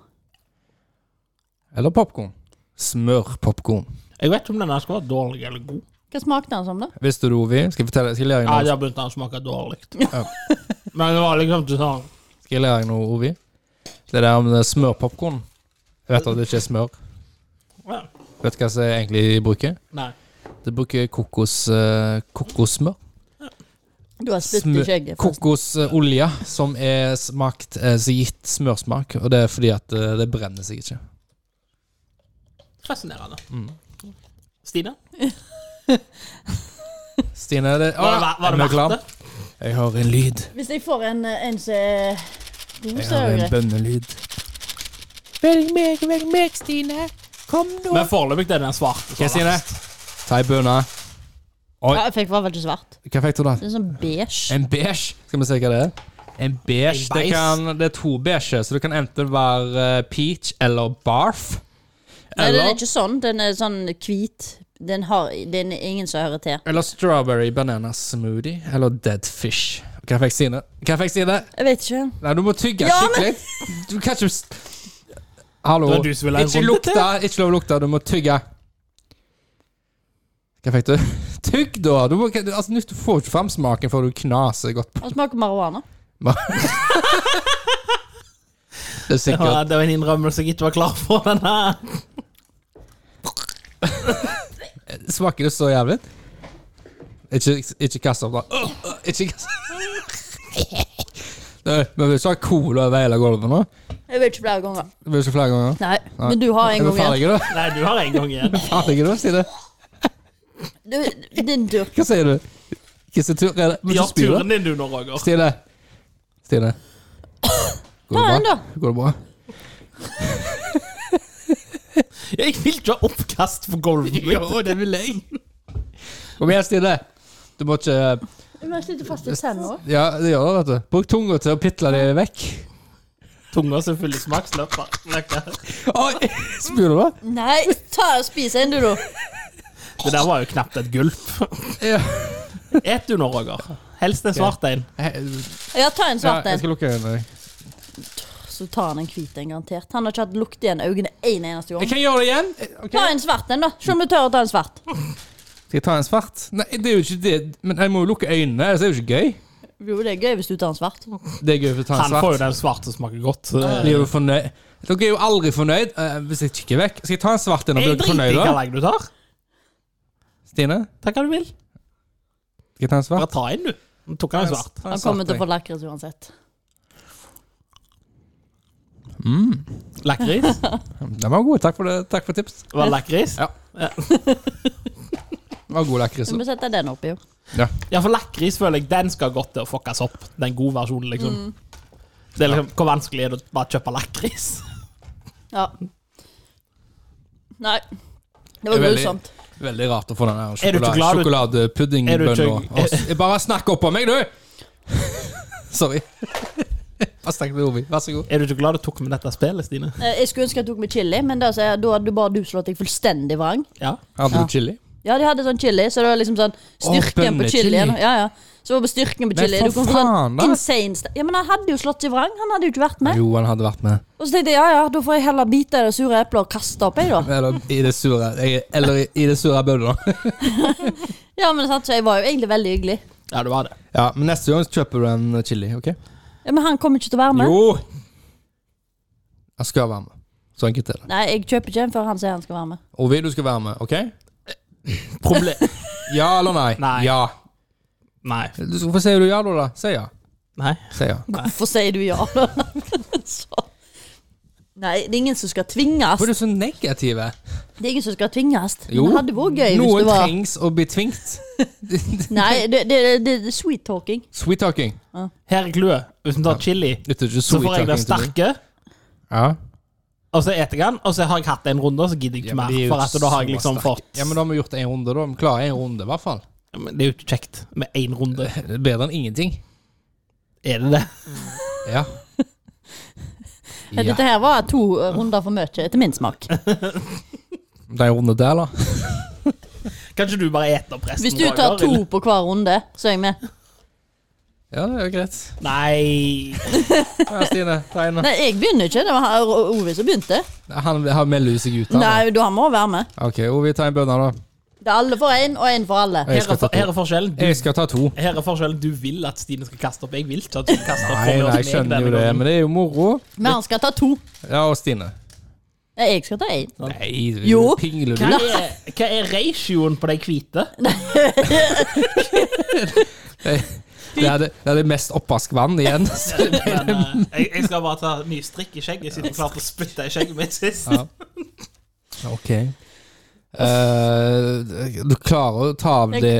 [SPEAKER 2] Eller popkorn. Smørpopkorn.
[SPEAKER 3] Jeg vet ikke om denne skal være dårlig eller god.
[SPEAKER 1] Hva smakte den som, da?
[SPEAKER 2] Visste du, Ovi? Skal jeg fortelle, skal jeg lære
[SPEAKER 3] Ja,
[SPEAKER 2] deg noe,
[SPEAKER 3] da begynte han å smake dårlig.
[SPEAKER 2] Ja.
[SPEAKER 3] Men det var liksom ikke sånn
[SPEAKER 2] skal jeg lære deg noe Ovi? Det der med smørpopkorn. Jeg vet at det ikke er smør.
[SPEAKER 3] ja.
[SPEAKER 2] Vet du hva som egentlig bruker?
[SPEAKER 3] Nei.
[SPEAKER 2] Det bruker kokos, eh, kokossmør.
[SPEAKER 1] Du har spytt i
[SPEAKER 2] Smør-
[SPEAKER 1] skjegget. forresten.
[SPEAKER 2] Kokosolje som er smakt eh, som gitt smørsmak, og det er fordi at eh, det brenner seg ikke.
[SPEAKER 3] Fascinerende. Stine?
[SPEAKER 2] Stine, det,
[SPEAKER 3] Var det, var det
[SPEAKER 2] Er vi klar?
[SPEAKER 3] verdt det?
[SPEAKER 2] Jeg har en lyd.
[SPEAKER 1] Hvis jeg får en, eh, en som er god,
[SPEAKER 2] Jeg
[SPEAKER 1] så
[SPEAKER 2] har
[SPEAKER 1] er det
[SPEAKER 2] en
[SPEAKER 1] greit.
[SPEAKER 2] bønnelyd.
[SPEAKER 4] Velg meg, velg meg, Stine. Kom nå.
[SPEAKER 3] Men foreløpig er det den svarte. som
[SPEAKER 2] Hva,
[SPEAKER 3] er
[SPEAKER 2] Stine?
[SPEAKER 3] verst.
[SPEAKER 2] Ta ei bønne. Oi.
[SPEAKER 1] Ja, jeg fikk var vel ikke svart.
[SPEAKER 2] Hva fikk du da?
[SPEAKER 1] Det er sånn beige.
[SPEAKER 2] En beige. Skal vi se hva det er? En beige.
[SPEAKER 3] En
[SPEAKER 2] Det,
[SPEAKER 3] beige.
[SPEAKER 2] kan, det er to beige, så det kan enten være eh, peach eller barf.
[SPEAKER 1] Nei, den er
[SPEAKER 2] Eller,
[SPEAKER 1] ikke sånn. Den er sånn hvit. Den har den er ingen som hører til.
[SPEAKER 2] eller strawberry banana smoothie. Eller dead fish. Hva fikk Stine? Hva fikk Stine?
[SPEAKER 1] Jeg vet ikke.
[SPEAKER 2] Nei, du må tygge
[SPEAKER 1] Ja,
[SPEAKER 2] skikkelig. Du kan ikke s- Hallo.
[SPEAKER 3] Det var du som ville ha en
[SPEAKER 2] Ikke
[SPEAKER 3] runde
[SPEAKER 2] lukte, ikke lov å lukte. Du må tygge. Hva fikk du? [laughs] Tygg, da! Du, må, altså, du får ikke fram smaken før du knaser godt på
[SPEAKER 1] Den smaker marihuana.
[SPEAKER 2] det. er
[SPEAKER 3] Det var,
[SPEAKER 2] Sikkert.
[SPEAKER 3] det var en innrømmelse jeg ikke var klar for. eh, Den her.
[SPEAKER 2] Smaker det så jævlig? Ikke, ikke kast opp, da. Øh, øh, Ikke kast [laughs] Nei, Vi vil ikke ha cola over hele gulvet nå.
[SPEAKER 1] Jeg vet ikke flere ganger.
[SPEAKER 2] Det blir ikke flere ganger.
[SPEAKER 1] Nei, men du har en
[SPEAKER 2] Er vi
[SPEAKER 1] gang igjen.
[SPEAKER 2] ferdige, da?
[SPEAKER 3] Nei, du har en gang igjen.
[SPEAKER 2] Ferdige, da, Stine?
[SPEAKER 1] Du, din tur.
[SPEAKER 2] Hva sier du? Hva sin tur er det? Men så
[SPEAKER 3] Gjør
[SPEAKER 2] spyr du.
[SPEAKER 3] turen din, du nå, Roger.
[SPEAKER 2] Stine. Stine. Går
[SPEAKER 1] Ta
[SPEAKER 2] det
[SPEAKER 1] en,
[SPEAKER 2] bra?
[SPEAKER 1] da.
[SPEAKER 2] Går det bra?
[SPEAKER 3] Jeg vil ikke ha oppkast på [laughs] gulvet. mitt.
[SPEAKER 2] det vil jeg. Kom igjen, Stine. Du må ikke
[SPEAKER 1] Jeg sitter fast i tenna.
[SPEAKER 2] Ja, det gjør det, vet du. Bruk tunga til å pitle det vekk.
[SPEAKER 3] Tunga som fyller smaksløper. Det
[SPEAKER 2] Oi! Spyr du da?
[SPEAKER 1] Nei, ta og spis en, du, da.
[SPEAKER 3] der var jo knapt et gulp.
[SPEAKER 2] Ja.
[SPEAKER 3] Et du nå, Roger. Helst en svart en.
[SPEAKER 1] Ja, ta en svart
[SPEAKER 2] jeg
[SPEAKER 1] en.
[SPEAKER 2] skal lukke øynene.
[SPEAKER 1] Så tar han en hvit en, garantert. Han har ikke hatt lukt igjen øynene en eneste
[SPEAKER 2] Jeg
[SPEAKER 1] gang.
[SPEAKER 2] kan gjøre det igjen. Ok.
[SPEAKER 1] Ta en svart en, da. Se om du tør å ta en svart.
[SPEAKER 2] [laughs] Skal jeg ta en svart? Nei, det er jo ikke det. Men jeg må jo lukke øynene, ellers er det jo ikke gøy.
[SPEAKER 1] Jo, det er gøy hvis du tar en svart.
[SPEAKER 2] Det er gøy for å ta en
[SPEAKER 3] Han får
[SPEAKER 2] svart.
[SPEAKER 3] jo den svarte som smaker godt. Eh,
[SPEAKER 2] Blir jo fornøyd. Dere er jo aldri fornøyd eh, hvis jeg kikker vekk. Skal jeg ta en svart en og bli
[SPEAKER 3] Jeg
[SPEAKER 2] dere
[SPEAKER 3] driter i
[SPEAKER 2] fornøyd
[SPEAKER 3] hvilken
[SPEAKER 2] da?
[SPEAKER 3] lag du tar.
[SPEAKER 2] Stine?
[SPEAKER 3] Ta hva du vil.
[SPEAKER 2] Skal jeg ta en
[SPEAKER 3] Bare
[SPEAKER 2] svart?
[SPEAKER 3] ta en, du. Nå tok han en Altså, svart.
[SPEAKER 2] Ta en
[SPEAKER 1] Han
[SPEAKER 2] svart,
[SPEAKER 1] kommer til å
[SPEAKER 2] jeg.
[SPEAKER 1] få lakris uansett.
[SPEAKER 3] Lakris.
[SPEAKER 2] Den var god. Takk for, det. Takk for tips.
[SPEAKER 3] Var det lakris?
[SPEAKER 2] Ja. Den var god lakris.
[SPEAKER 1] Så vi setter den oppi, jo.
[SPEAKER 2] Ja.
[SPEAKER 3] Ja, for lakris føler jeg den skal godt til å fuckes opp. Den gode versjonen, liksom. Det er liksom, Hvor vanskelig er det å bare kjøpe lakris?
[SPEAKER 1] Ja. Nei. Det
[SPEAKER 2] Det
[SPEAKER 1] var
[SPEAKER 2] er veldig-
[SPEAKER 1] grusomt.
[SPEAKER 2] Veldig rart å få den der
[SPEAKER 3] Er du ikke glad du- Er du
[SPEAKER 2] sjokoladepuddingbønna.
[SPEAKER 3] ikke-
[SPEAKER 2] Sjokoladepudding Bare snakk opp om meg, du! [laughs] Sorry. [laughs] Bare snakk med Ovi. Vær så god.
[SPEAKER 3] Er du ikke glad du tok med dette spillet, Stine?
[SPEAKER 1] Eh, Jeg skulle ønske jeg tok med chili, men da så er- da hadde bare du slått deg fullstendig vrang.
[SPEAKER 3] Ja.
[SPEAKER 2] Hadde
[SPEAKER 1] Ja.
[SPEAKER 2] du chili?
[SPEAKER 1] Ja, de hadde sånn chili, så det var liksom sånn styrken på
[SPEAKER 2] bønnechili.
[SPEAKER 1] chilien. Ja, ja. Så var det styrken på
[SPEAKER 2] Nei,
[SPEAKER 1] chili.
[SPEAKER 2] for
[SPEAKER 1] Du kom fra
[SPEAKER 2] faen,
[SPEAKER 1] sånn
[SPEAKER 2] da.
[SPEAKER 1] insane sta- Ja, men han hadde jo slått seg vrang. Han hadde jo ikke vært med.
[SPEAKER 2] Jo, han hadde vært med.
[SPEAKER 1] Og så tenkte jeg ja, ja, da får jeg heller bite i det sure eplet og kaste opp, jeg,
[SPEAKER 2] [laughs]
[SPEAKER 1] da.
[SPEAKER 2] Eller i det sure jeg, Eller i, i det sure bønna.
[SPEAKER 1] Ja, men sant, så jeg var jo egentlig veldig hyggelig.
[SPEAKER 3] ja, det var det.
[SPEAKER 2] [laughs] Ja, men neste gang så kjøper du en chili, OK?
[SPEAKER 1] Ja, Men han kommer ikke til å være med.
[SPEAKER 2] Jo! Han skal være med. Så enkelt er det.
[SPEAKER 1] Nei, jeg kjøper ikke en før han sier han skal være med.
[SPEAKER 2] Ovi, du skal være med, OK?
[SPEAKER 3] Proble
[SPEAKER 2] Ja eller nei?
[SPEAKER 3] Nei.
[SPEAKER 2] Ja.
[SPEAKER 3] Nei.
[SPEAKER 2] Du skal få si du ja, da. da. Si ja.
[SPEAKER 3] Nei.
[SPEAKER 2] Si ja.
[SPEAKER 1] Hvorfor sier du ja, da? [laughs] så. Nei, det er ingen som skal tvinges.
[SPEAKER 2] Hvorfor er du så negativ?
[SPEAKER 1] Det er ingen som skal tvinges.
[SPEAKER 2] Jo.
[SPEAKER 1] Men Det hadde vært gøy hvis
[SPEAKER 2] Noen
[SPEAKER 1] det var
[SPEAKER 2] trengs å bli tvingt.
[SPEAKER 1] Nei, det, det, det, det er sweet talking.
[SPEAKER 2] Sweet talking.
[SPEAKER 3] Her er clouet. Hvis vi tar chili,
[SPEAKER 2] Dette er ikke
[SPEAKER 3] så
[SPEAKER 2] sweet
[SPEAKER 3] får jeg den
[SPEAKER 2] talking til meg.
[SPEAKER 3] sterke.
[SPEAKER 2] Ja.
[SPEAKER 3] Og så eter jeg den, og så har jeg hatt en runde, og så gidder jeg ikke
[SPEAKER 2] Ja, men
[SPEAKER 3] mer.
[SPEAKER 2] de er jo
[SPEAKER 3] For at da har jeg
[SPEAKER 2] så
[SPEAKER 3] liksom
[SPEAKER 2] sterke.
[SPEAKER 3] fått
[SPEAKER 2] Ja, men da har vi gjort en runde, da. Vi klarer en runde, i hvert fall.
[SPEAKER 3] Ja, men Det er jo ikke kjekt med én runde.
[SPEAKER 2] Det er Bedre enn ingenting.
[SPEAKER 3] Er det det?
[SPEAKER 1] [laughs]
[SPEAKER 2] Ja.
[SPEAKER 1] Dette her var to eh, runder for mye, etter min smak.
[SPEAKER 2] Det er en runde der, da.
[SPEAKER 3] Kan ikke du bare ete opp resten?
[SPEAKER 1] Hvis du tar
[SPEAKER 3] Roger,
[SPEAKER 1] to
[SPEAKER 3] eller?
[SPEAKER 1] på hver runde, så er jeg med.
[SPEAKER 2] Ja, det er jo greit.
[SPEAKER 3] Nei.
[SPEAKER 2] Ja, Stine, ta en.
[SPEAKER 1] Nei, jeg begynner ikke. Det var her O- Ovi som begynte.
[SPEAKER 2] Han han melder seg ut. Han, da.
[SPEAKER 1] Nei, da han må være med.
[SPEAKER 2] OK, Ovi, ta en bønne, da.
[SPEAKER 1] Det er alle for én, og én for alle.
[SPEAKER 2] Jeg
[SPEAKER 3] Her
[SPEAKER 2] skal
[SPEAKER 3] er,
[SPEAKER 2] ta
[SPEAKER 3] for, her
[SPEAKER 2] to.
[SPEAKER 3] er forskjellen. Du,
[SPEAKER 2] Jeg skal ta to.
[SPEAKER 3] her er forskjellen. Du vil at Stine skal kaste opp. Jeg vil ikke at hun kaster opp.
[SPEAKER 2] Nei,
[SPEAKER 3] for meg og
[SPEAKER 2] nei, jeg
[SPEAKER 3] meg
[SPEAKER 2] skjønner
[SPEAKER 3] denne
[SPEAKER 2] jo det,
[SPEAKER 3] gangen.
[SPEAKER 2] men det er jo moro.
[SPEAKER 1] Men han skal ta to.
[SPEAKER 2] Ja, og Stine.
[SPEAKER 1] Nei, jeg skal ta én.
[SPEAKER 2] Nei,
[SPEAKER 1] Jo.
[SPEAKER 2] pingler du?
[SPEAKER 3] Hva er, hva er ratioen på de
[SPEAKER 1] [laughs]
[SPEAKER 3] hvite?
[SPEAKER 2] Det er det, det er det mest oppvaskvann [laughs] igjen.
[SPEAKER 3] Men, eh, jeg, jeg skal bare ta mye strikk i skjegget, siden jeg klarte å spytte i skjegget mitt sist.
[SPEAKER 2] Ja. sånn, OK. Eh, du klarer å ta av det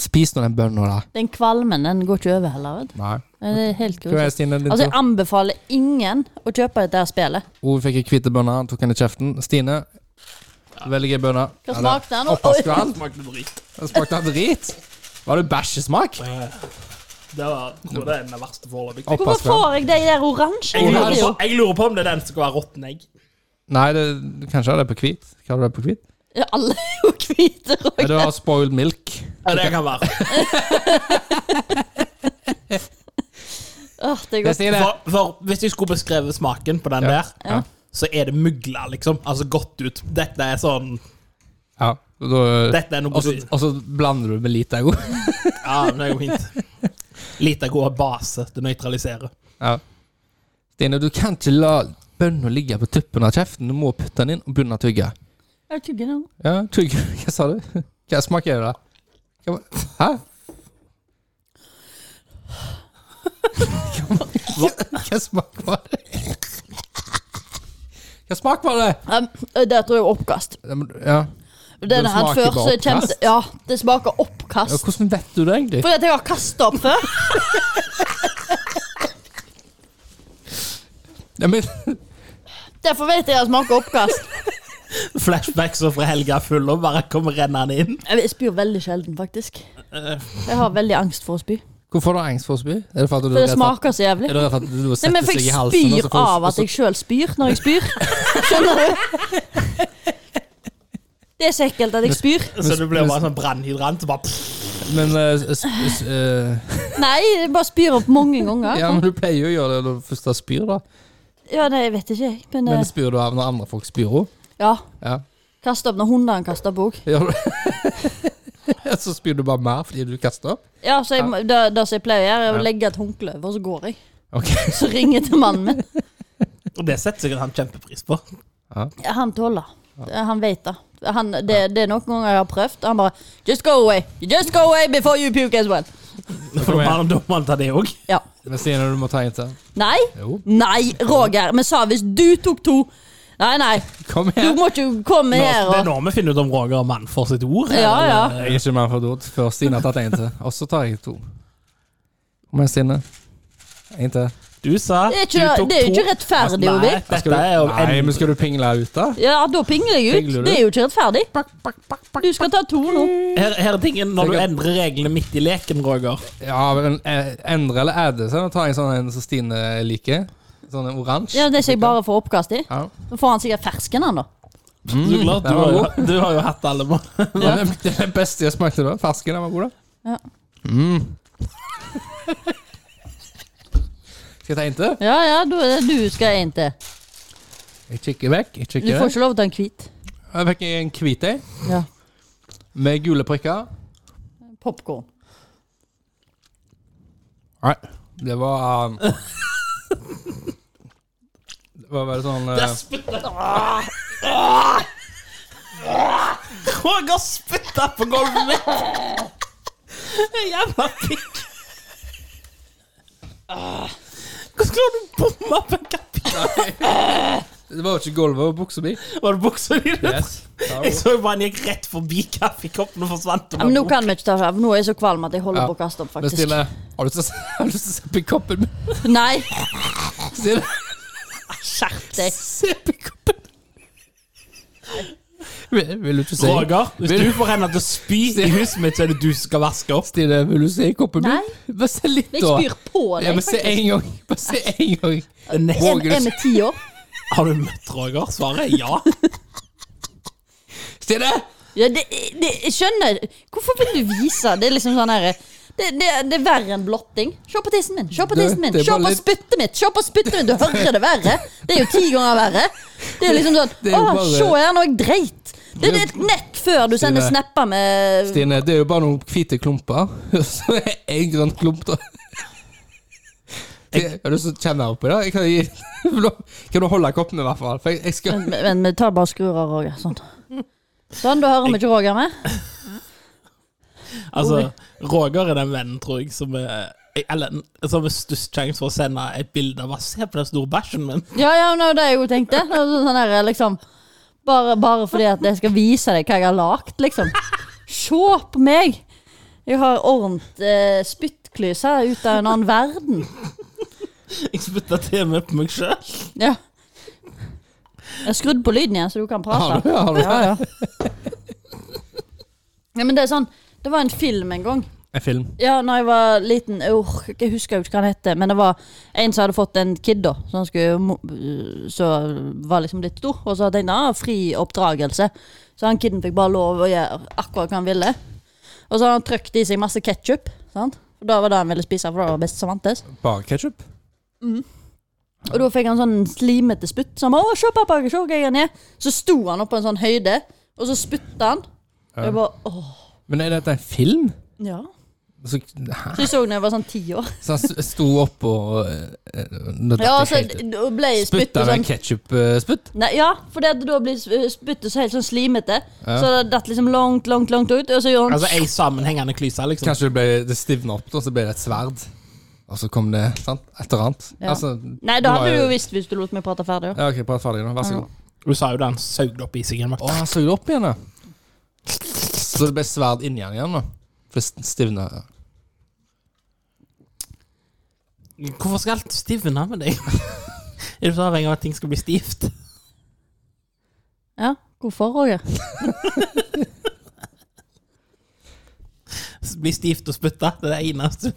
[SPEAKER 2] Spis nå den bønna, da.
[SPEAKER 1] Den kvalmen den går ikke over heller. vet du.
[SPEAKER 2] Nei.
[SPEAKER 1] Men Det er helt
[SPEAKER 2] Hva er
[SPEAKER 1] grusomt.
[SPEAKER 2] Stine din
[SPEAKER 1] Altså,
[SPEAKER 2] tur?
[SPEAKER 1] jeg anbefaler ingen å kjøpe dette her spillet.
[SPEAKER 2] Ove fikk ei hvite bønne, han tok den i kjeften. Stine, velg ei bønne.
[SPEAKER 1] Hva smakte den?
[SPEAKER 2] [laughs] Oppvaskvann.
[SPEAKER 3] Smakte drit.
[SPEAKER 2] Den smakte av drit. Var det bæsjesmak?
[SPEAKER 3] Eh, Det var jeg tror det er den verste foreløpig.
[SPEAKER 1] Hvorfor
[SPEAKER 2] Oppvaskvann.
[SPEAKER 1] får jeg de der oransje?
[SPEAKER 3] Jeg lurer, på,
[SPEAKER 1] Jo,
[SPEAKER 3] jeg lurer på om det er den som skal være råtten egg.
[SPEAKER 2] Nei, det, du kan ikke ha det på hvit. Hva har du det på hvit?
[SPEAKER 1] Alle er jo hvite.
[SPEAKER 2] Nei,
[SPEAKER 1] Roger.
[SPEAKER 2] du har spoiled milk.
[SPEAKER 3] Ja, det kan være.
[SPEAKER 1] Åh, Det er
[SPEAKER 2] Det er
[SPEAKER 1] godt.
[SPEAKER 2] Stine.
[SPEAKER 3] For, for hvis jeg skulle beskrevet smaken på den der,
[SPEAKER 1] Ja.
[SPEAKER 3] så er det mugla, liksom. Altså godt ut. Dette er sånn
[SPEAKER 2] Ja. da-
[SPEAKER 3] Dette er noe
[SPEAKER 2] Og så og så blander du med litt ego.
[SPEAKER 3] Ja, men det går fint. Lite god base til å nøytralisere.
[SPEAKER 2] Ja. Stine, du kan ikke la bønna ligge på tuppen av kjeften. Du må putte den inn og begynne å tygge.
[SPEAKER 1] Jeg tygger den.
[SPEAKER 2] Ja, tygge. [laughs] Hva sa du? Hva smaker det, da? Hva var- Hæ? Hva, hva smak var det? Hva smak var det?
[SPEAKER 1] Um, det tror jeg er oppkast.
[SPEAKER 2] Ja, men- Ja.
[SPEAKER 1] Den her
[SPEAKER 2] smaker
[SPEAKER 1] før,
[SPEAKER 2] bare
[SPEAKER 1] så kjem,
[SPEAKER 2] oppkast?
[SPEAKER 1] ja, det smaker
[SPEAKER 2] ja,
[SPEAKER 1] oppkast.
[SPEAKER 2] hvordan vet du det egentlig?
[SPEAKER 1] Fordi at jeg har kasta opp før.
[SPEAKER 2] Ja, men,
[SPEAKER 1] Derfor vet jeg at det smaker oppkast.
[SPEAKER 3] Flashbacks og fra helga full og bare kommer rennende inn.
[SPEAKER 1] Jeg spyr veldig sjelden, faktisk. Jeg har veldig angst for å spy.
[SPEAKER 2] Hvorfor har du angst for å spy? Er det for at
[SPEAKER 1] For
[SPEAKER 2] du er
[SPEAKER 1] det
[SPEAKER 2] redd for at-
[SPEAKER 1] smaker så jævlig.
[SPEAKER 2] er du redd for at du
[SPEAKER 1] Nei, men
[SPEAKER 2] setter
[SPEAKER 1] for
[SPEAKER 2] seg i
[SPEAKER 1] jeg
[SPEAKER 2] halsen? og
[SPEAKER 1] spyr
[SPEAKER 2] så får-
[SPEAKER 1] av at
[SPEAKER 2] og så-
[SPEAKER 1] jeg sjøl spyr når jeg spyr. Skjønner du? Det er så ekkelt at jeg spyr.
[SPEAKER 3] Så du blir bare en sånn brannhydrant. og bare pff.
[SPEAKER 2] Men eh, s- s- eh,
[SPEAKER 1] Nei, jeg bare spyr opp mange ganger.
[SPEAKER 2] Ja, men du pleier jo å gjøre det når du først har spyr, da.
[SPEAKER 1] Ja, nei, jeg vet ikke, jeg. Men
[SPEAKER 2] Men
[SPEAKER 1] eh,
[SPEAKER 2] spyr du av når andre folk spyr òg?
[SPEAKER 1] ja.
[SPEAKER 2] Ja.
[SPEAKER 1] Kaste opp når hundene kaster opp òg.
[SPEAKER 2] Gjør du [laughs] Ja, Så spyr du bare mer fordi du kaster opp?
[SPEAKER 1] Ja, så jeg, må- det, det som jeg pleier å gjøre, er
[SPEAKER 2] Ja.
[SPEAKER 1] å legge et håndkle over, og så går jeg.
[SPEAKER 2] Ok.
[SPEAKER 1] Så ringer jeg til mannen min.
[SPEAKER 3] Og det setter sikkert han kjempepris på.
[SPEAKER 1] Ja, Han tåler det. Han vet det. Han, det, det er noen ganger jeg har prøvd. Han bare Just go away. Just go away before you puke as well.
[SPEAKER 3] For da må han ta det òg.
[SPEAKER 1] Ja.
[SPEAKER 2] Men Stine, du må ta en til.
[SPEAKER 1] Nei,
[SPEAKER 2] Jo.
[SPEAKER 1] nei, Roger. Vi sa hvis du tok to Nei, nei.
[SPEAKER 2] Kom
[SPEAKER 1] Du
[SPEAKER 2] igjen.
[SPEAKER 1] må ikke komme
[SPEAKER 3] Det
[SPEAKER 1] her
[SPEAKER 3] er
[SPEAKER 1] og
[SPEAKER 3] nå vi finner ut om Roger og mann får sitt ord.
[SPEAKER 1] Ja, ja.
[SPEAKER 3] eller- eh,
[SPEAKER 2] Jeg er ikke mer for dåd før Stine har tatt en til. Og så tar jeg to. Kom igjen, Stine. En til.
[SPEAKER 3] Du sa
[SPEAKER 1] Det er ikke- det er jo ikke rettferdig,
[SPEAKER 3] Nei,
[SPEAKER 1] Ovi.
[SPEAKER 3] Dette
[SPEAKER 2] Skal du,
[SPEAKER 3] er jo
[SPEAKER 2] nei, men skal du pingle ut, da?
[SPEAKER 1] Ja, da pingler jeg ut.
[SPEAKER 2] Pingler du?
[SPEAKER 1] Det er jo ikke rettferdig. Du skal ta to nå.
[SPEAKER 3] Her, her er tingen når du
[SPEAKER 2] Sikkert.
[SPEAKER 3] endrer reglene midt i leken, Roger.
[SPEAKER 2] Ja, men eh, Endre eller adde? Så ta en sånn en som Stine liker. Sånn en oransje.
[SPEAKER 1] Ja, Det som jeg bare får oppkast i.
[SPEAKER 2] Ja.
[SPEAKER 1] Da får han sikkert fersken, han, da.
[SPEAKER 3] Så klart,
[SPEAKER 2] den Mm. var
[SPEAKER 3] du, har jo, du har jo hatt alle mann.
[SPEAKER 2] [laughs] Ja. Det er den beste jeg smakte da. Fersken den var god, da. Mm.
[SPEAKER 1] Ja.
[SPEAKER 2] Skal jeg ta en til?
[SPEAKER 1] Ja, ja, du, du skal en til.
[SPEAKER 2] Jeg kikker vekk. Jeg
[SPEAKER 1] Du får
[SPEAKER 2] kikker vekk.
[SPEAKER 1] ikke lov til å ta en hvit.
[SPEAKER 2] Jeg fikk en hvit en
[SPEAKER 1] Ja.
[SPEAKER 2] med gule prikker.
[SPEAKER 1] Popkorn.
[SPEAKER 2] Nei, det var um, Det var bare sånn eh,
[SPEAKER 3] Roger spytta på gulvet mitt! Jævla pikk. Hvordan klarer du å bomme på en katt?
[SPEAKER 2] Det var jo ikke gulvet, det var buksa mi.
[SPEAKER 3] Var det buksa di?
[SPEAKER 2] Yes.
[SPEAKER 3] Jeg så jo bare han gikk rett forbi kaffekoppen og forsvant.
[SPEAKER 1] Ja, men nå kan vi ikke ta for Nå er jeg så kvalm at jeg holder
[SPEAKER 2] Ja.
[SPEAKER 1] på å kaste opp,
[SPEAKER 2] Men
[SPEAKER 1] faktisk.
[SPEAKER 2] Stine, har du lyst til å se- har du lyst til å se på koppen min?
[SPEAKER 1] [laughs] Nei,
[SPEAKER 2] Stine,
[SPEAKER 1] skjerp deg.
[SPEAKER 2] se på koppen! Vil, vil du ikke se?
[SPEAKER 3] Roger, hvis
[SPEAKER 2] Vil-
[SPEAKER 3] du får henne til å spy i huset mitt, så er det du som skal vaske opp.
[SPEAKER 2] Stine, vil du se i koppen min?
[SPEAKER 1] Nei.
[SPEAKER 2] Bare se litt,
[SPEAKER 1] Jeg
[SPEAKER 2] da.
[SPEAKER 1] spyr på deg,
[SPEAKER 2] Ja, men se
[SPEAKER 1] faktisk.
[SPEAKER 2] en gang. Bare se en gang.
[SPEAKER 3] Det er neste-
[SPEAKER 1] En en med ti år.
[SPEAKER 3] Har du møtt Roger? Svaret er ja.
[SPEAKER 2] Stine!
[SPEAKER 1] Ja, det, det, jeg skjønner Hvorfor vil du vise? Det er liksom sånn her det, det, det er verre enn blotting. Se på tissen min! Se på
[SPEAKER 2] Du,
[SPEAKER 1] tissen min,
[SPEAKER 2] det er
[SPEAKER 1] se
[SPEAKER 2] bare
[SPEAKER 1] på
[SPEAKER 2] litt-
[SPEAKER 1] spyttet mitt! Se på spyttet mitt, Du hører det verre! Det er jo ti ganger verre. Det er jo liksom sånn
[SPEAKER 2] Det er jo
[SPEAKER 1] Å,
[SPEAKER 2] bare-
[SPEAKER 1] se her, nå er jeg dreit! Det er et nett før du sender
[SPEAKER 2] Stine.
[SPEAKER 1] snapper med
[SPEAKER 2] Stine, det er jo bare noen hvite klumper. [laughs] Så er en grønn klump, da. Stine, Har du lyst til å kjenne oppi det? Jeg kan, gi, [laughs] kan du holde koppen, i hvert fall? For jeg, jeg skal
[SPEAKER 1] Men- Men vi tar bare skrur av Roger. Sånn. Sånn, da hører vi ikke Roger med.
[SPEAKER 3] Altså, Roger er den vennen, tror jeg, som er eller, som er størst sjanse for å sende et bilde av bare, 'Se på den store bæsjen min'. [laughs]
[SPEAKER 1] Ja, ja, men det var det jeg jo tenkte. Det var Sånn her, liksom bare, bare fordi at jeg skal vise deg hva jeg har lagd, liksom. Se på meg! Jeg har ordent eh, spyttklys her ut av en annen verden.
[SPEAKER 3] Jeg spytta til og med på meg sjøl.
[SPEAKER 1] Ja. Jeg har skrudd på lyden igjen, så du kan
[SPEAKER 2] Har du,
[SPEAKER 1] prate.
[SPEAKER 2] har du
[SPEAKER 1] Ja, ja. ja men det er sånn Det var en film en gang.
[SPEAKER 2] en film?
[SPEAKER 1] Ja, når jeg var liten uh, Jeg husker jo ikke hva han hette, men det var en som hadde fått en kid, da. Så han skulle, mo- så var liksom litt stor. Og så tenkte han ah, fri oppdragelse. Så han kiden fikk bare lov å gjøre akkurat hva han ville. Og så hadde han trykt i seg masse ketsjup. Og da var det han ville spise, for det var best som vantes.
[SPEAKER 2] Bare ketsjup?
[SPEAKER 1] Og da fikk han sånn slimete spytt. Som, å, se, pappa, se hva jeg er. Så sto han opp på en sånn høyde, og så spytta han. Og jeg bare åh.
[SPEAKER 2] Men er dette en film?
[SPEAKER 1] Ja.
[SPEAKER 2] Så, hæ?
[SPEAKER 1] Så jeg så det da jeg var sånn ti år.
[SPEAKER 2] så han s- sto opp og eh, nå datt
[SPEAKER 1] Ja, altså,
[SPEAKER 2] jeg
[SPEAKER 1] så
[SPEAKER 2] helt ut.
[SPEAKER 1] da ble jeg spytt
[SPEAKER 2] Spytta
[SPEAKER 1] og
[SPEAKER 2] med eh,
[SPEAKER 1] sånn
[SPEAKER 2] en ketsjup-spytt?
[SPEAKER 1] Nei, ja, for det at da blir sp- spyttet så helt sånn slimete.
[SPEAKER 2] Ja.
[SPEAKER 1] Så det datt liksom langt, langt langt ut. Og så gjorde han
[SPEAKER 3] Altså ei sammenhengende klyse, liksom.
[SPEAKER 2] Kanskje det, ble, det stivna opp, og så ble det et sverd. Og så kom det sant? et eller annet.
[SPEAKER 1] Ja.
[SPEAKER 2] Altså,
[SPEAKER 1] Nei,
[SPEAKER 2] det
[SPEAKER 1] da
[SPEAKER 2] var
[SPEAKER 1] hadde du
[SPEAKER 2] jo-
[SPEAKER 1] jo visst hvis du lot meg prate ferdig. da.
[SPEAKER 2] Ja, ok, prat ferdig nå. Vær så god.
[SPEAKER 1] Mm.
[SPEAKER 3] Hun sa jo det, han saug det opp i seg igjen.
[SPEAKER 2] Å, han så det opp igjen, ja. Så det ble sverd inni han igjen, da. For det stivna.
[SPEAKER 3] Hvorfor skal alt stivne med deg? [laughs] Er du så avhengig av at ting skal bli stivt? [laughs]
[SPEAKER 1] Ja, hvorfor, Roger?
[SPEAKER 3] Bli stivt og spytte? Det er det eneste.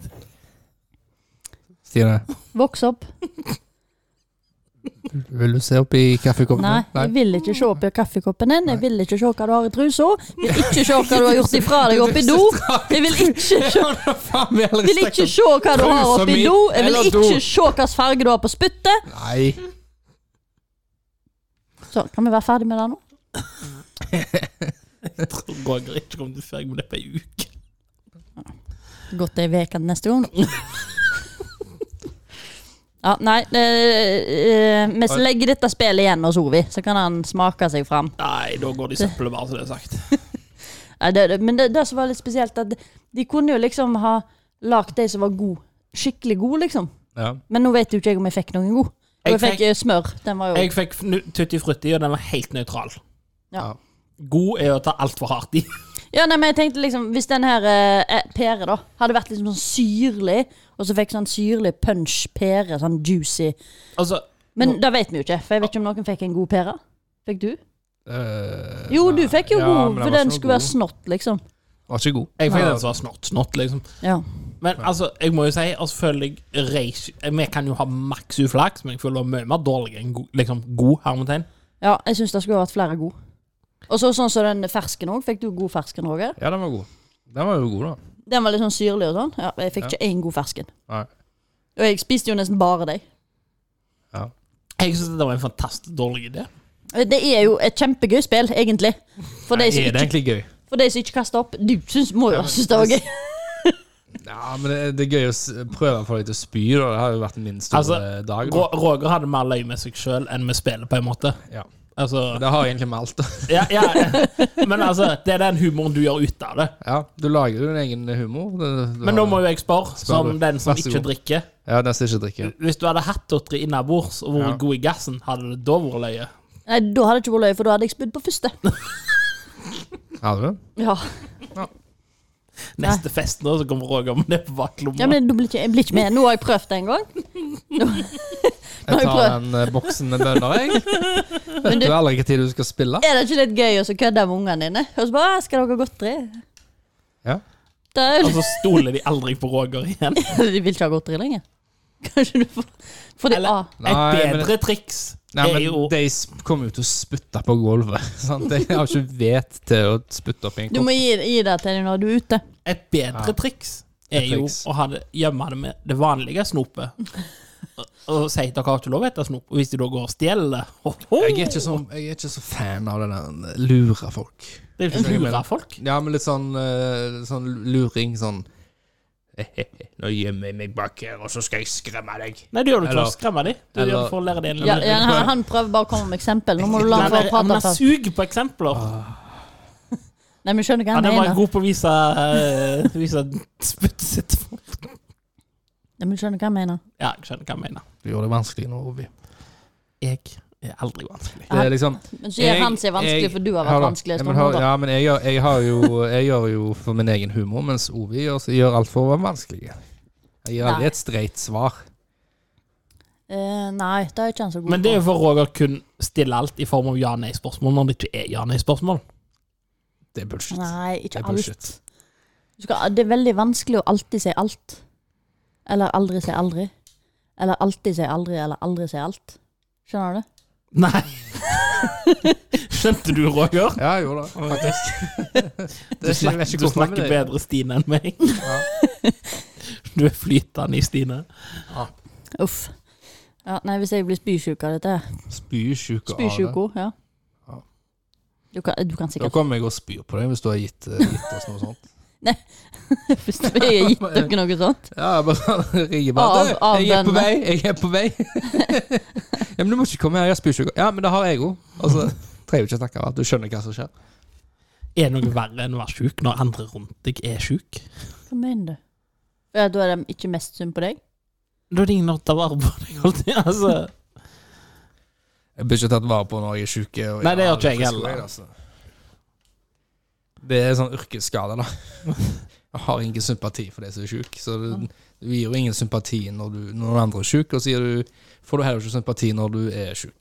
[SPEAKER 3] [laughs]
[SPEAKER 2] Stine?
[SPEAKER 1] Voks opp.
[SPEAKER 2] Vil du se opp i kaffekoppen?
[SPEAKER 1] Nei, jeg vil ikke se oppi kaffekoppen din. Jeg vil ikke se hva du har i trusa. Vil ikke se hva du har gjort ifra deg oppi
[SPEAKER 2] [laughs]
[SPEAKER 1] do. Jeg vil ikke se Vil ikke se hva du har
[SPEAKER 2] Trusa
[SPEAKER 1] oppi
[SPEAKER 2] mi,
[SPEAKER 1] do. Jeg vil
[SPEAKER 2] eller do.
[SPEAKER 1] ikke se hvilken farge du har på spyttet.
[SPEAKER 2] Nei.
[SPEAKER 1] Så, kan vi være ferdig med det nå?
[SPEAKER 3] Jeg tror Roger ikke kommer til å ferdig med det på ei uke.
[SPEAKER 1] Godt det er veka til neste gang. da. Ja, nei eh, eh, Vi legger dette spillet igjen hos Ovi, så kan han smake seg fram.
[SPEAKER 3] Nei, da går det i søppelet, bare så det er sagt.
[SPEAKER 1] Nei, det, det- men det, det som var litt spesielt, at de kunne jo liksom ha lagd de som var god skikkelig god, liksom.
[SPEAKER 2] Ja.
[SPEAKER 1] Men nå vet jo ikke jeg om jeg fikk noen god. Og
[SPEAKER 3] Jeg
[SPEAKER 1] jeg fikk eh, smør. Den var jo
[SPEAKER 3] Jeg fikk fnu- Tutti Frutti, og den var helt nøytral.
[SPEAKER 1] Ja.
[SPEAKER 3] God er å ta altfor hardt i. [laughs]
[SPEAKER 1] Ja, nei, men jeg tenkte liksom Hvis den her eh, pære da hadde vært liksom sånn syrlig, og så fikk sånn syrlig punch pære, sånn juicy
[SPEAKER 3] Altså,
[SPEAKER 1] Men det vet vi jo ikke, for jeg vet ikke om noen fikk en god pære. Fikk du?
[SPEAKER 2] Eh,
[SPEAKER 1] Jo, du
[SPEAKER 2] nei.
[SPEAKER 1] fikk jo
[SPEAKER 2] Ja, men
[SPEAKER 1] god, for
[SPEAKER 2] var
[SPEAKER 1] den
[SPEAKER 2] ikke
[SPEAKER 1] skulle
[SPEAKER 2] god.
[SPEAKER 1] være snott, liksom.
[SPEAKER 2] Var ikke god.
[SPEAKER 3] jeg fikk
[SPEAKER 2] Nei.
[SPEAKER 3] den som var snort, snort, liksom.
[SPEAKER 1] Ja.
[SPEAKER 3] Men altså, jeg må jo si, altså føler jeg reis... Vi kan jo ha maks uflaks, men jeg føler det er mye mer dårlig enn god, liksom, god hermetegn.
[SPEAKER 1] ja jeg syns det skulle vært flere gode. Og så sånn som den fersken òg. Fikk du god fersken, Roger?
[SPEAKER 2] Ja, den var god. Den var jo god, da.
[SPEAKER 1] Den var litt sånn syrlig og sånn. Ja, jeg fikk
[SPEAKER 2] Ja.
[SPEAKER 1] ikke én god fersken.
[SPEAKER 2] Nei.
[SPEAKER 1] Og jeg spiste jo nesten bare deg.
[SPEAKER 3] Jeg syns det var en fantastisk dårlig idé.
[SPEAKER 1] Eh, Det er jo et kjempegøy spill, egentlig. For de som
[SPEAKER 2] er det
[SPEAKER 1] ikke,
[SPEAKER 2] egentlig gøy?
[SPEAKER 1] for de som ikke kaster opp. Du syns, må jo synes det var gøy.
[SPEAKER 2] Ja, men det, det er gøy å s- prøve å få deg til å spy, da. Det har jo vært min store
[SPEAKER 3] Altså,
[SPEAKER 2] dag.
[SPEAKER 3] Ro-
[SPEAKER 2] Da.
[SPEAKER 3] Roger hadde mer løy med seg sjøl enn med spillet, på en måte.
[SPEAKER 2] Ja.
[SPEAKER 3] Altså,
[SPEAKER 2] Det har egentlig med alt.
[SPEAKER 3] ja, ja, [laughs] men altså, det er den humoren du gjør ut av det.
[SPEAKER 2] [laughs] Ja, du lager jo din egen humor. Det, du
[SPEAKER 3] Men
[SPEAKER 2] har-
[SPEAKER 3] nå må jo jeg spørre, som
[SPEAKER 2] du.
[SPEAKER 3] den som
[SPEAKER 2] Vær så
[SPEAKER 3] ikke
[SPEAKER 2] god.
[SPEAKER 3] drikker.
[SPEAKER 2] Ja, den som ikke drikker.
[SPEAKER 3] Hvis du hadde hatt Dotteri innabords og vært
[SPEAKER 2] Ja.
[SPEAKER 3] god i gassen, hadde det da vært løye?
[SPEAKER 1] [laughs] Nei, da hadde det ikke vært løye, for da hadde jeg spydd på
[SPEAKER 2] [laughs]
[SPEAKER 1] første.
[SPEAKER 2] Har du den?
[SPEAKER 1] Ja,
[SPEAKER 3] Neste fest nå, så kommer Roger med det på baklomma.
[SPEAKER 1] ja men da blir ikke, jeg blir ikke med. Nå har jeg prøvd det en gang. Nå har
[SPEAKER 2] Jeg
[SPEAKER 1] jeg
[SPEAKER 2] tar
[SPEAKER 1] prøvd.
[SPEAKER 2] den eh, boksen med bønner,
[SPEAKER 3] [laughs]
[SPEAKER 2] jeg. Vet du aldri hvilken tid du skal spille?
[SPEAKER 1] Er det ikke litt gøy å så kødde med ungene dine? Og så bare «Å, 'Skal dere ha godteri?'
[SPEAKER 2] Ja.
[SPEAKER 1] Det er jo
[SPEAKER 2] Altså,
[SPEAKER 3] Og så stoler de aldri på Roger
[SPEAKER 1] [laughs]
[SPEAKER 3] igjen.
[SPEAKER 1] De vil ikke ha godteri lenger. [laughs] Kanskje du får Får de Ah.
[SPEAKER 3] Eller-
[SPEAKER 1] A?
[SPEAKER 2] Nei,
[SPEAKER 3] Et
[SPEAKER 2] men-
[SPEAKER 3] bedre triks
[SPEAKER 2] Nei,
[SPEAKER 3] er jo
[SPEAKER 2] men De sp- kommer jo til å spytte på gulvet. [laughs] Sant? De har ikke vett til å spytte opp i en
[SPEAKER 1] Du
[SPEAKER 2] kopp.
[SPEAKER 1] må gi, gi det til dem når du er ute.
[SPEAKER 3] Et bedre
[SPEAKER 2] Ja.
[SPEAKER 3] triks
[SPEAKER 2] Et
[SPEAKER 3] er jo
[SPEAKER 2] triks.
[SPEAKER 3] å ha det, gjemme det med det vanlige
[SPEAKER 1] [laughs]
[SPEAKER 3] snopet. Og- Og si at dere har ikke lov til å spise snop. Og hvis de da går og stjeler det [laughs] ho, ho,
[SPEAKER 2] Jeg er, ikke så, jeg er ikke så fan av det der lure folk.
[SPEAKER 3] Det er jo ikke lure folk.
[SPEAKER 2] Ja, men litt sånn, eh, litt sånn luring, sånn [laughs] Nå gjemmer jeg meg bak her, og så skal jeg skremme deg.
[SPEAKER 3] Nei, det gjør du ikke for å
[SPEAKER 2] Eller-
[SPEAKER 3] skremme dem. Du gjør
[SPEAKER 2] eller-
[SPEAKER 3] det for å lære dem
[SPEAKER 1] Ja, ja, han, han prøver bare å komme med eksempel. Nå må du la ham få prate
[SPEAKER 3] Han
[SPEAKER 1] først.
[SPEAKER 3] suger på eksempler.
[SPEAKER 1] Nei, men skjønner hva
[SPEAKER 3] Ja,
[SPEAKER 1] han
[SPEAKER 3] den var
[SPEAKER 1] mener.
[SPEAKER 3] god på å vise, eh, vise spyttet sitt.
[SPEAKER 1] Nei, men skjønner hva han mener.
[SPEAKER 3] Ja, jeg skjønner hva jeg mener.
[SPEAKER 2] Du gjør det vanskelig nå, Ovi.
[SPEAKER 3] Jeg er aldri vanskelig.
[SPEAKER 2] Det er liksom
[SPEAKER 1] Men så gjør
[SPEAKER 2] Jeg-
[SPEAKER 1] han seg vanskelig,
[SPEAKER 2] jeg-
[SPEAKER 1] for du har
[SPEAKER 2] Hør
[SPEAKER 1] vært
[SPEAKER 2] da.
[SPEAKER 1] vanskelig.
[SPEAKER 2] Ja,
[SPEAKER 1] en
[SPEAKER 2] men
[SPEAKER 1] stund nå,
[SPEAKER 2] hør-
[SPEAKER 1] da.
[SPEAKER 2] Ja, men jeg gjør, jeg, har jo, jeg gjør jo for min egen humor, mens Ovi gjør, gjør alt for å være vanskelig. Jeg gir aldri
[SPEAKER 1] Nei.
[SPEAKER 2] et streit svar.
[SPEAKER 1] Eh, nei, det er ikke han så god
[SPEAKER 3] Men det
[SPEAKER 1] på.
[SPEAKER 3] er jo for Roger kun stille alt i form av ja-nei-spørsmål når det ikke er ja-nei-spørsmål.
[SPEAKER 2] Det er bullshit.
[SPEAKER 1] Nei,
[SPEAKER 2] Det
[SPEAKER 1] ikke
[SPEAKER 2] er
[SPEAKER 1] alt.
[SPEAKER 2] bullshit.
[SPEAKER 1] Du skal, det er veldig vanskelig å alltid si alt. Eller aldri si aldri. Eller alltid si aldri, eller aldri si alt. Skjønner du?
[SPEAKER 3] Nei. [laughs] Skjønte du, Roger?
[SPEAKER 2] Ja, jeg gjorde det. Faktisk. [laughs]
[SPEAKER 3] Du snakker, du snakker bedre Stine enn meg.
[SPEAKER 2] Ja.
[SPEAKER 3] [laughs] Du er flytende i Stine.
[SPEAKER 1] Uff. Ja, nei, hvis jeg blir spysjuk av dette her.
[SPEAKER 2] Spysjuke av det.
[SPEAKER 1] Spysjuko, ja.
[SPEAKER 2] Ja.
[SPEAKER 1] Du kan, du kan
[SPEAKER 2] Da
[SPEAKER 1] sikkert
[SPEAKER 2] kommer jeg og spyr på deg hvis du har gitt, eh, gitt oss noe
[SPEAKER 1] [laughs]
[SPEAKER 2] sånt.
[SPEAKER 1] Hvis jeg har gitt dere noe sånt.
[SPEAKER 2] [laughs] Ja, jeg bare [laughs] ringer bare.
[SPEAKER 1] Av-
[SPEAKER 2] Du,
[SPEAKER 1] av
[SPEAKER 2] jeg er på
[SPEAKER 1] denne.
[SPEAKER 2] vei, jeg er på
[SPEAKER 1] [laughs]
[SPEAKER 2] vei. ja, men du må ikke komme her, jeg har spysjuke. Ja, men det har jeg òg. Altså, trenger jo ikke å snakke om alt. Du skjønner hva som skjer.
[SPEAKER 3] Er det noe verre enn å være sjuk når andre rundt deg er sjuk?
[SPEAKER 1] Hva mener du? Ja, da er de ikke mest synd på deg?
[SPEAKER 3] Da er det ingen å ta vare på deg. alltid, Altså.
[SPEAKER 2] Jeg blir ikke tatt vare på når jeg er sjuk.
[SPEAKER 3] Nei, det gjør ikke jeg heller.
[SPEAKER 2] altså. Det er sånn yrkesskade,
[SPEAKER 3] [laughs]
[SPEAKER 2] da. Jeg har ingen sympati for de som er sjuke. Så du, du gir jo ingen sympati når, du, når noen andre er sjuke, og så gir du, får du heller ikke sympati når du er sjuk.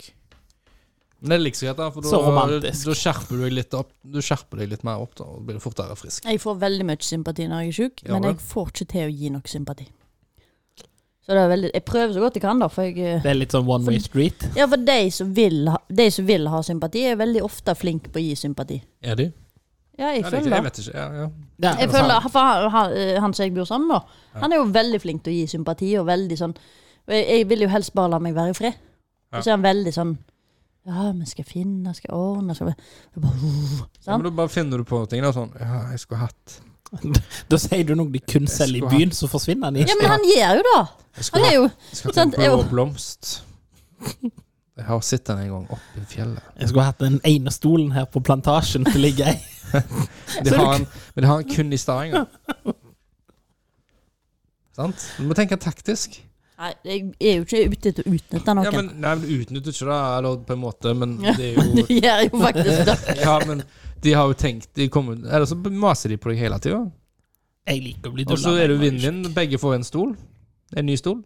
[SPEAKER 2] Men det er liksom greit, da, for
[SPEAKER 3] Så
[SPEAKER 2] da,
[SPEAKER 3] romantisk.
[SPEAKER 2] da skjerper du deg litt opp Du skjerper deg litt mer opp, da, og blir du fortere frisk.
[SPEAKER 1] Jeg får veldig mye sympati når jeg er sjuk,
[SPEAKER 2] Ja,
[SPEAKER 1] men
[SPEAKER 2] vel.
[SPEAKER 1] jeg får ikke til å gi nok sympati. Så det er veldig, jeg prøver så godt jeg kan, da. For, jeg, eh,
[SPEAKER 3] Det er litt sånn one way street.
[SPEAKER 1] ja, for de, som vil ha, de som vil ha sympati, er veldig ofte flinke på å gi sympati.
[SPEAKER 2] Er de?
[SPEAKER 1] Ja, jeg
[SPEAKER 2] Ja, det er ikke-
[SPEAKER 1] føler
[SPEAKER 2] Jeg
[SPEAKER 1] det.
[SPEAKER 2] vet ikke. Ja, ja.
[SPEAKER 1] Jeg føler, for han, eh, han, han som jeg bor sammen med, da, han er jo veldig flink til å gi sympati. Og veldig sånn og jeg, jeg vil jo helst bare la meg være i fred.
[SPEAKER 2] Ja.
[SPEAKER 1] Og så er han veldig sånn Ja, vi skal finne, skal ordne skal vi-" Jeg bare, uh,
[SPEAKER 2] Ja,
[SPEAKER 1] sant?
[SPEAKER 2] men da bare finner du på ting. Da, sånn Ja, jeg skulle hatt
[SPEAKER 3] Da sier du noe de kun selger i byen, så forsvinner den
[SPEAKER 1] Ja, men
[SPEAKER 3] ikke.
[SPEAKER 1] han gjør jo det!
[SPEAKER 2] Jeg skulle
[SPEAKER 1] Han er
[SPEAKER 2] hatt,
[SPEAKER 1] jo
[SPEAKER 2] jeg skulle
[SPEAKER 1] sant,
[SPEAKER 2] hatt en blå
[SPEAKER 1] jo.
[SPEAKER 2] blomst. Jeg har sett den en gang oppe i [laughs] fjellet.
[SPEAKER 3] Jeg skulle hatt den ene stolen her på plantasjen til å ligge i.
[SPEAKER 2] De
[SPEAKER 3] Så
[SPEAKER 2] har
[SPEAKER 3] du-
[SPEAKER 2] en, men de har en kun i Stavanger. Sant? Du må tenke taktisk.
[SPEAKER 1] Nei, jeg er jo ikke ute etter å utnytte noen.
[SPEAKER 2] Ja,
[SPEAKER 1] [laughs]
[SPEAKER 2] men, nei, men Du utnytter ikke det, eller på en måte, men det er
[SPEAKER 1] Du [laughs]
[SPEAKER 2] jo
[SPEAKER 1] gjør jo faktisk det.
[SPEAKER 2] Ja, men de har jo tenkt de kommer, Eller så maser de på deg hele tida.
[SPEAKER 3] Jeg liker å bli
[SPEAKER 2] Og
[SPEAKER 3] dulla.
[SPEAKER 2] så er det jo vinn-vinn. Begge får en stol. En ny stol.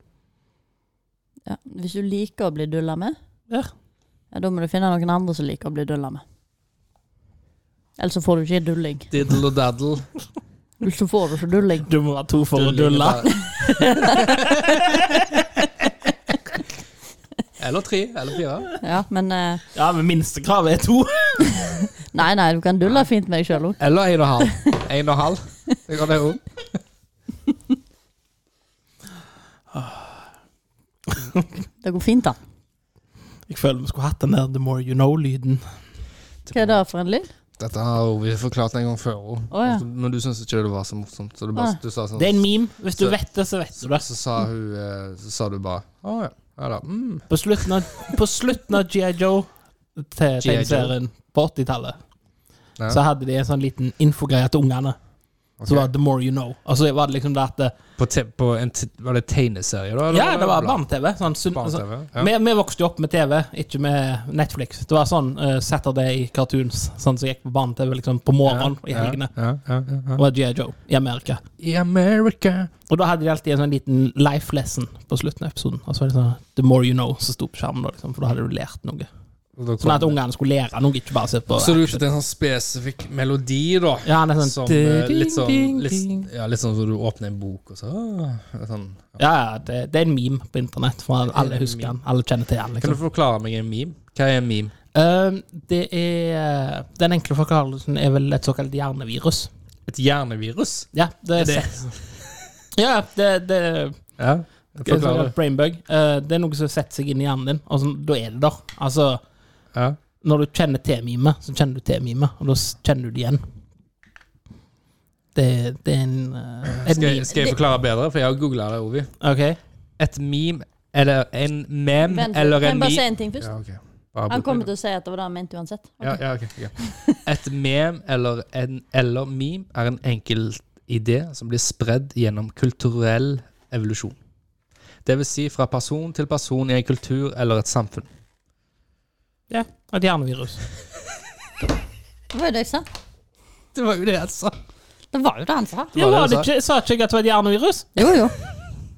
[SPEAKER 1] Ja, hvis du liker å bli dulla med,
[SPEAKER 3] Ja.
[SPEAKER 1] ja, da må du finne noen andre som liker å bli dulla med. Eller så får du ikke dulling.
[SPEAKER 2] Diddle og daddle.
[SPEAKER 1] Eller så får du ikke dulling.
[SPEAKER 3] Du må være to for å dulle.
[SPEAKER 2] [laughs] Eller tre. Eller fire.
[SPEAKER 1] Ja, men eh,
[SPEAKER 3] Ja, men minstekravet er to.
[SPEAKER 1] Nei, nei, du kan dulle fint med deg sjøl òg.
[SPEAKER 2] Eller en og halv. En og halv. Det kan det jo.
[SPEAKER 1] Det går fint, da.
[SPEAKER 3] Jeg føler vi skulle hatt den der The More You Know-lyden.
[SPEAKER 1] Hva er det for en lyd?
[SPEAKER 2] Dette har vi forklart en gang før, Altså,
[SPEAKER 1] Å, ja.
[SPEAKER 2] men du syntes ikke det var så morsomt. Så du,
[SPEAKER 1] Nei.
[SPEAKER 2] bare, du sa sånn
[SPEAKER 3] Det er en meme. Hvis du
[SPEAKER 2] Så-
[SPEAKER 3] vet det, så vet du det.
[SPEAKER 2] Så sa hun eh, Så sa du bare Å ja. ja da. Mm.
[SPEAKER 3] På slutten av, på slutten av G.I. Joe, til
[SPEAKER 2] G.I. Joe.
[SPEAKER 3] tegneserien på 80-tallet,
[SPEAKER 2] Ja.
[SPEAKER 3] så hadde de en sånn liten infogreie til ungene. Så
[SPEAKER 2] Ok.
[SPEAKER 3] var det The More You Know. Og så var det liksom det at det-
[SPEAKER 2] På, te på en te var det tegneserie, da? eller
[SPEAKER 3] Ja, det var
[SPEAKER 2] blad?
[SPEAKER 3] barne-TV. Sånn, sunn- sånn,
[SPEAKER 2] Barne-TV. Ja.
[SPEAKER 3] vi, vi vokste jo opp med TV, ikke med Netflix. Det var sånn eh, Saturday cartoons sånn som gikk på barne-TV liksom, på morgenen i helgene.
[SPEAKER 2] Ja, ja, ja, ja.
[SPEAKER 3] Det var G.I. Joe i Amerika.
[SPEAKER 2] I America
[SPEAKER 3] Og da hadde de alltid en sånn liten life lesson på slutten av episoden. Og så var det sånn The more you know, som sto på skjermen, da, liksom, for da hadde du lært noe.
[SPEAKER 2] Og da kom
[SPEAKER 3] Sånn at
[SPEAKER 2] det.
[SPEAKER 3] ungene skulle lære noe, ikke bare se på
[SPEAKER 2] Så du ikke til en sånn spesifikk melodi, da?
[SPEAKER 3] Ja, han er sånn
[SPEAKER 2] Som eh,
[SPEAKER 3] ding,
[SPEAKER 2] litt sånn
[SPEAKER 3] ding,
[SPEAKER 2] litt,
[SPEAKER 3] ding.
[SPEAKER 2] Ja, litt sånn som du åpner en bok, og så ah, sånn.
[SPEAKER 3] Ja, ja, det, det er en meme på internett, for alle
[SPEAKER 2] en
[SPEAKER 3] husker
[SPEAKER 2] meme.
[SPEAKER 3] han. Alle kjenner til han,
[SPEAKER 2] Kan du
[SPEAKER 3] liksom.
[SPEAKER 2] forklare meg en meme? Hva er en meme?
[SPEAKER 3] Eh, det er eh, Den enkle forklarelsen er vel et såkalt hjernevirus.
[SPEAKER 2] Et hjernevirus?
[SPEAKER 3] Ja, det er
[SPEAKER 2] Det-
[SPEAKER 3] Ja, det, det er
[SPEAKER 2] Ja,
[SPEAKER 3] et
[SPEAKER 2] forklar
[SPEAKER 3] såkalt
[SPEAKER 2] det.
[SPEAKER 3] brain bug. Eh, det er noe som setter seg inn i hjernen din, og sånn, da er det der. Altså,
[SPEAKER 2] Ja.
[SPEAKER 3] når du kjenner T-mime, så kjenner du T-mime, og da s- kjenner du det igjen. Det, det er en, eh, en
[SPEAKER 2] Skal,
[SPEAKER 3] meme.
[SPEAKER 2] jeg- skal jeg forklare bedre, for jeg har googla det, Ovi.
[SPEAKER 3] Ok.
[SPEAKER 2] Et meme eller en mem
[SPEAKER 1] Vent,
[SPEAKER 2] Mm. eller
[SPEAKER 1] kan
[SPEAKER 2] en
[SPEAKER 1] jeg bare si
[SPEAKER 2] meme
[SPEAKER 1] en ting først?
[SPEAKER 2] Ja, ok. Bare
[SPEAKER 1] Han
[SPEAKER 2] bruk
[SPEAKER 1] kommer
[SPEAKER 2] det.
[SPEAKER 1] til å si at det var det han mente uansett. Ok.
[SPEAKER 2] ja, ja, ok, ok. Et mem eller, en, eller meme er en enkel idé som blir spredd gjennom kulturell evolusjon. Det vil si fra person til person i en kultur eller et samfunn.
[SPEAKER 3] Ja, et hjernevirus.
[SPEAKER 1] Det var jo det jeg sa.
[SPEAKER 2] Det var jo det jeg sa.
[SPEAKER 1] Det var jo det han sa.
[SPEAKER 2] Det [laughs] var
[SPEAKER 3] Ja,
[SPEAKER 2] det
[SPEAKER 3] var
[SPEAKER 2] du
[SPEAKER 3] det ikke, sa ikke jeg at det var et hjernevirus?
[SPEAKER 1] Jo, jo.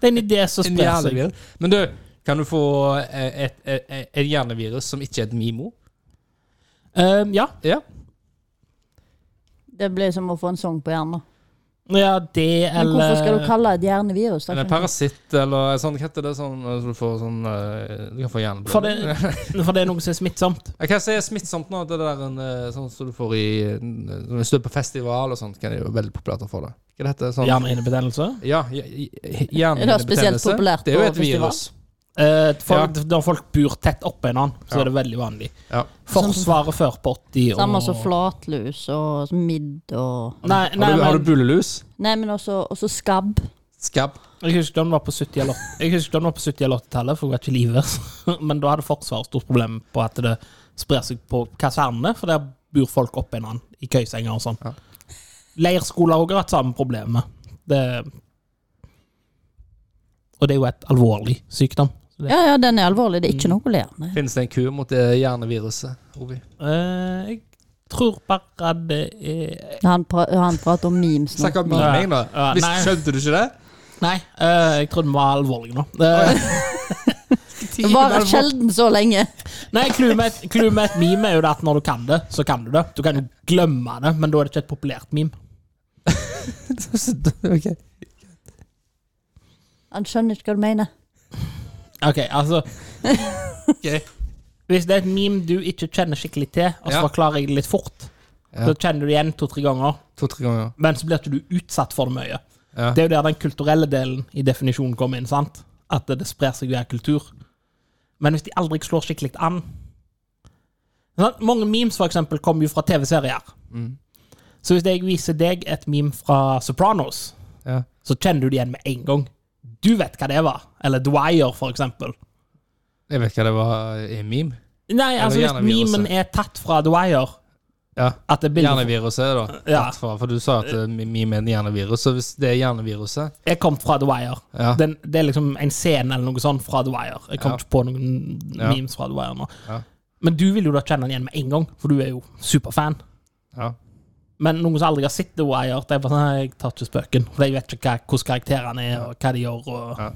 [SPEAKER 3] Det er en idé som
[SPEAKER 2] En
[SPEAKER 3] sprer seg.
[SPEAKER 2] hjernevirus. Men du, kan du få eh, et, et, et, et hjernevirus som ikke er et mimo?
[SPEAKER 3] Ehm, ja.
[SPEAKER 2] Ja.
[SPEAKER 1] Det blir som å få en sang på hjernen.
[SPEAKER 3] ja, det
[SPEAKER 1] Men
[SPEAKER 3] eller
[SPEAKER 1] hvorfor skal du kalle det et hjernevirus? da?
[SPEAKER 2] En parasitt eller sånn, hva heter det sånn, eh, så du får sånn, eh, du kan få hjerneblod.
[SPEAKER 3] for det, [laughs] for det er noe som er smittsomt.
[SPEAKER 2] Jeg kan si smittsomt nå, det der en, eh, sånn som du får i eh, Når du står på festival og sånt, kan det jo være veldig populært å få det. Hva er dette? Sånn,
[SPEAKER 3] Hjernehinnebetennelse.
[SPEAKER 2] Ja, hj- hj-
[SPEAKER 1] Er det spesielt
[SPEAKER 2] hjernebetennelse.
[SPEAKER 1] populært
[SPEAKER 2] Det er jo
[SPEAKER 1] på
[SPEAKER 2] et
[SPEAKER 1] festival?
[SPEAKER 2] virus.
[SPEAKER 3] Eh, folk, Når folk bor tett oppå hverandre, så
[SPEAKER 2] Ja.
[SPEAKER 3] er det veldig vanlig.
[SPEAKER 2] Ja.
[SPEAKER 3] Forsvaret før på 80 og
[SPEAKER 1] Sånn Samme som flatlus og midd og
[SPEAKER 3] Nei, nei
[SPEAKER 2] har, du, har du
[SPEAKER 3] men,
[SPEAKER 2] bullelus?
[SPEAKER 1] Nei, men også, også skabb.
[SPEAKER 2] Skabb?
[SPEAKER 3] jeg husker ikke om det var på 70 eller åt- Jeg husker ikke om det var på 70 eller 80-tallet, for jeg var ikke i live. [laughs] Men da hadde Forsvaret stort problem på at det sprer seg på kasernene, for der bor folk oppå hverandre i køysenger og sånn.
[SPEAKER 2] Ja.
[SPEAKER 3] Leirskoler har også hatt samme problemet. Det Og det er jo et alvorlig sykdom. Så det,
[SPEAKER 1] Ja, ja, den er alvorlig. Det er ikke noe å le av. nei.
[SPEAKER 2] Finnes det en kur mot det hjerneviruset, Ovi?
[SPEAKER 3] Eh, jeg tror bare det er
[SPEAKER 1] Han, pra han prater om memes nå.
[SPEAKER 2] Snakk om
[SPEAKER 3] Ja.
[SPEAKER 2] meg, da.
[SPEAKER 3] Ja,
[SPEAKER 2] Hvis,
[SPEAKER 3] nei.
[SPEAKER 2] skjønte du ikke det?
[SPEAKER 3] [laughs] Nei, eh, jeg trodde vi var alvorlige nå. Eh,
[SPEAKER 1] Det varer sjelden så lenge.
[SPEAKER 3] [laughs] Nei, clouet med, et- clouet med et meme er jo det at når du kan det, så kan du det. Du kan jo glemme det, men da er det ikke et populært meme.
[SPEAKER 2] ok.
[SPEAKER 1] Han skjønner ikke hva du mener.
[SPEAKER 3] OK,
[SPEAKER 2] [laughs]
[SPEAKER 3] altså
[SPEAKER 2] Ok.
[SPEAKER 3] Hvis det er et meme du ikke kjenner skikkelig til, og så
[SPEAKER 2] Ja.
[SPEAKER 3] forklarer jeg det litt fort,
[SPEAKER 2] Ja.
[SPEAKER 3] så kjenner du det igjen to-tre ganger,
[SPEAKER 2] To-tre ganger.
[SPEAKER 3] men så blir ikke du utsatt for det mye.
[SPEAKER 2] Ja.
[SPEAKER 3] Det er jo der den kulturelle delen i definisjonen kommer inn, sant? At det sprer seg via kultur. Men hvis de aldri slår skikkelig an sant? Mange memes, for eksempel, kommer jo fra TV-serier.
[SPEAKER 2] Mm.
[SPEAKER 3] Så hvis jeg viser deg et meme fra Sopranos,
[SPEAKER 2] Ja.
[SPEAKER 3] så kjenner du det igjen med en gang. Du vet hva det var. Eller The Wire, for eksempel.
[SPEAKER 2] Jeg vet ikke hva det var i meme.
[SPEAKER 3] Nei, altså hvis
[SPEAKER 2] gjerne viruset.
[SPEAKER 3] memen er tatt fra The Wire
[SPEAKER 2] Ja.
[SPEAKER 3] at det er bildet
[SPEAKER 2] Hjerneviruset, da.
[SPEAKER 3] Ja.
[SPEAKER 2] Tatt fra, For du sa at eh, meme er en hjernevirus. Så hvis det er hjerneviruset
[SPEAKER 3] Jeg kom fra The Wire.
[SPEAKER 2] Ja.
[SPEAKER 3] Den, det er liksom en scene eller noe sånt fra The Wire. Jeg kom
[SPEAKER 2] Ja.
[SPEAKER 3] ikke på noen
[SPEAKER 2] Ja.
[SPEAKER 3] memes fra The Wire nå.
[SPEAKER 2] Ja.
[SPEAKER 3] Men du vil jo da kjenne den igjen med en gang, for du er jo superfan.
[SPEAKER 2] Ja.
[SPEAKER 3] Men noen som aldri har sett The Wire, det er bare sånn Nei, jeg tar ikke spøken. For jeg vet ikke hva, hvordan karakterene er, og hva de gjør, og
[SPEAKER 2] Ja.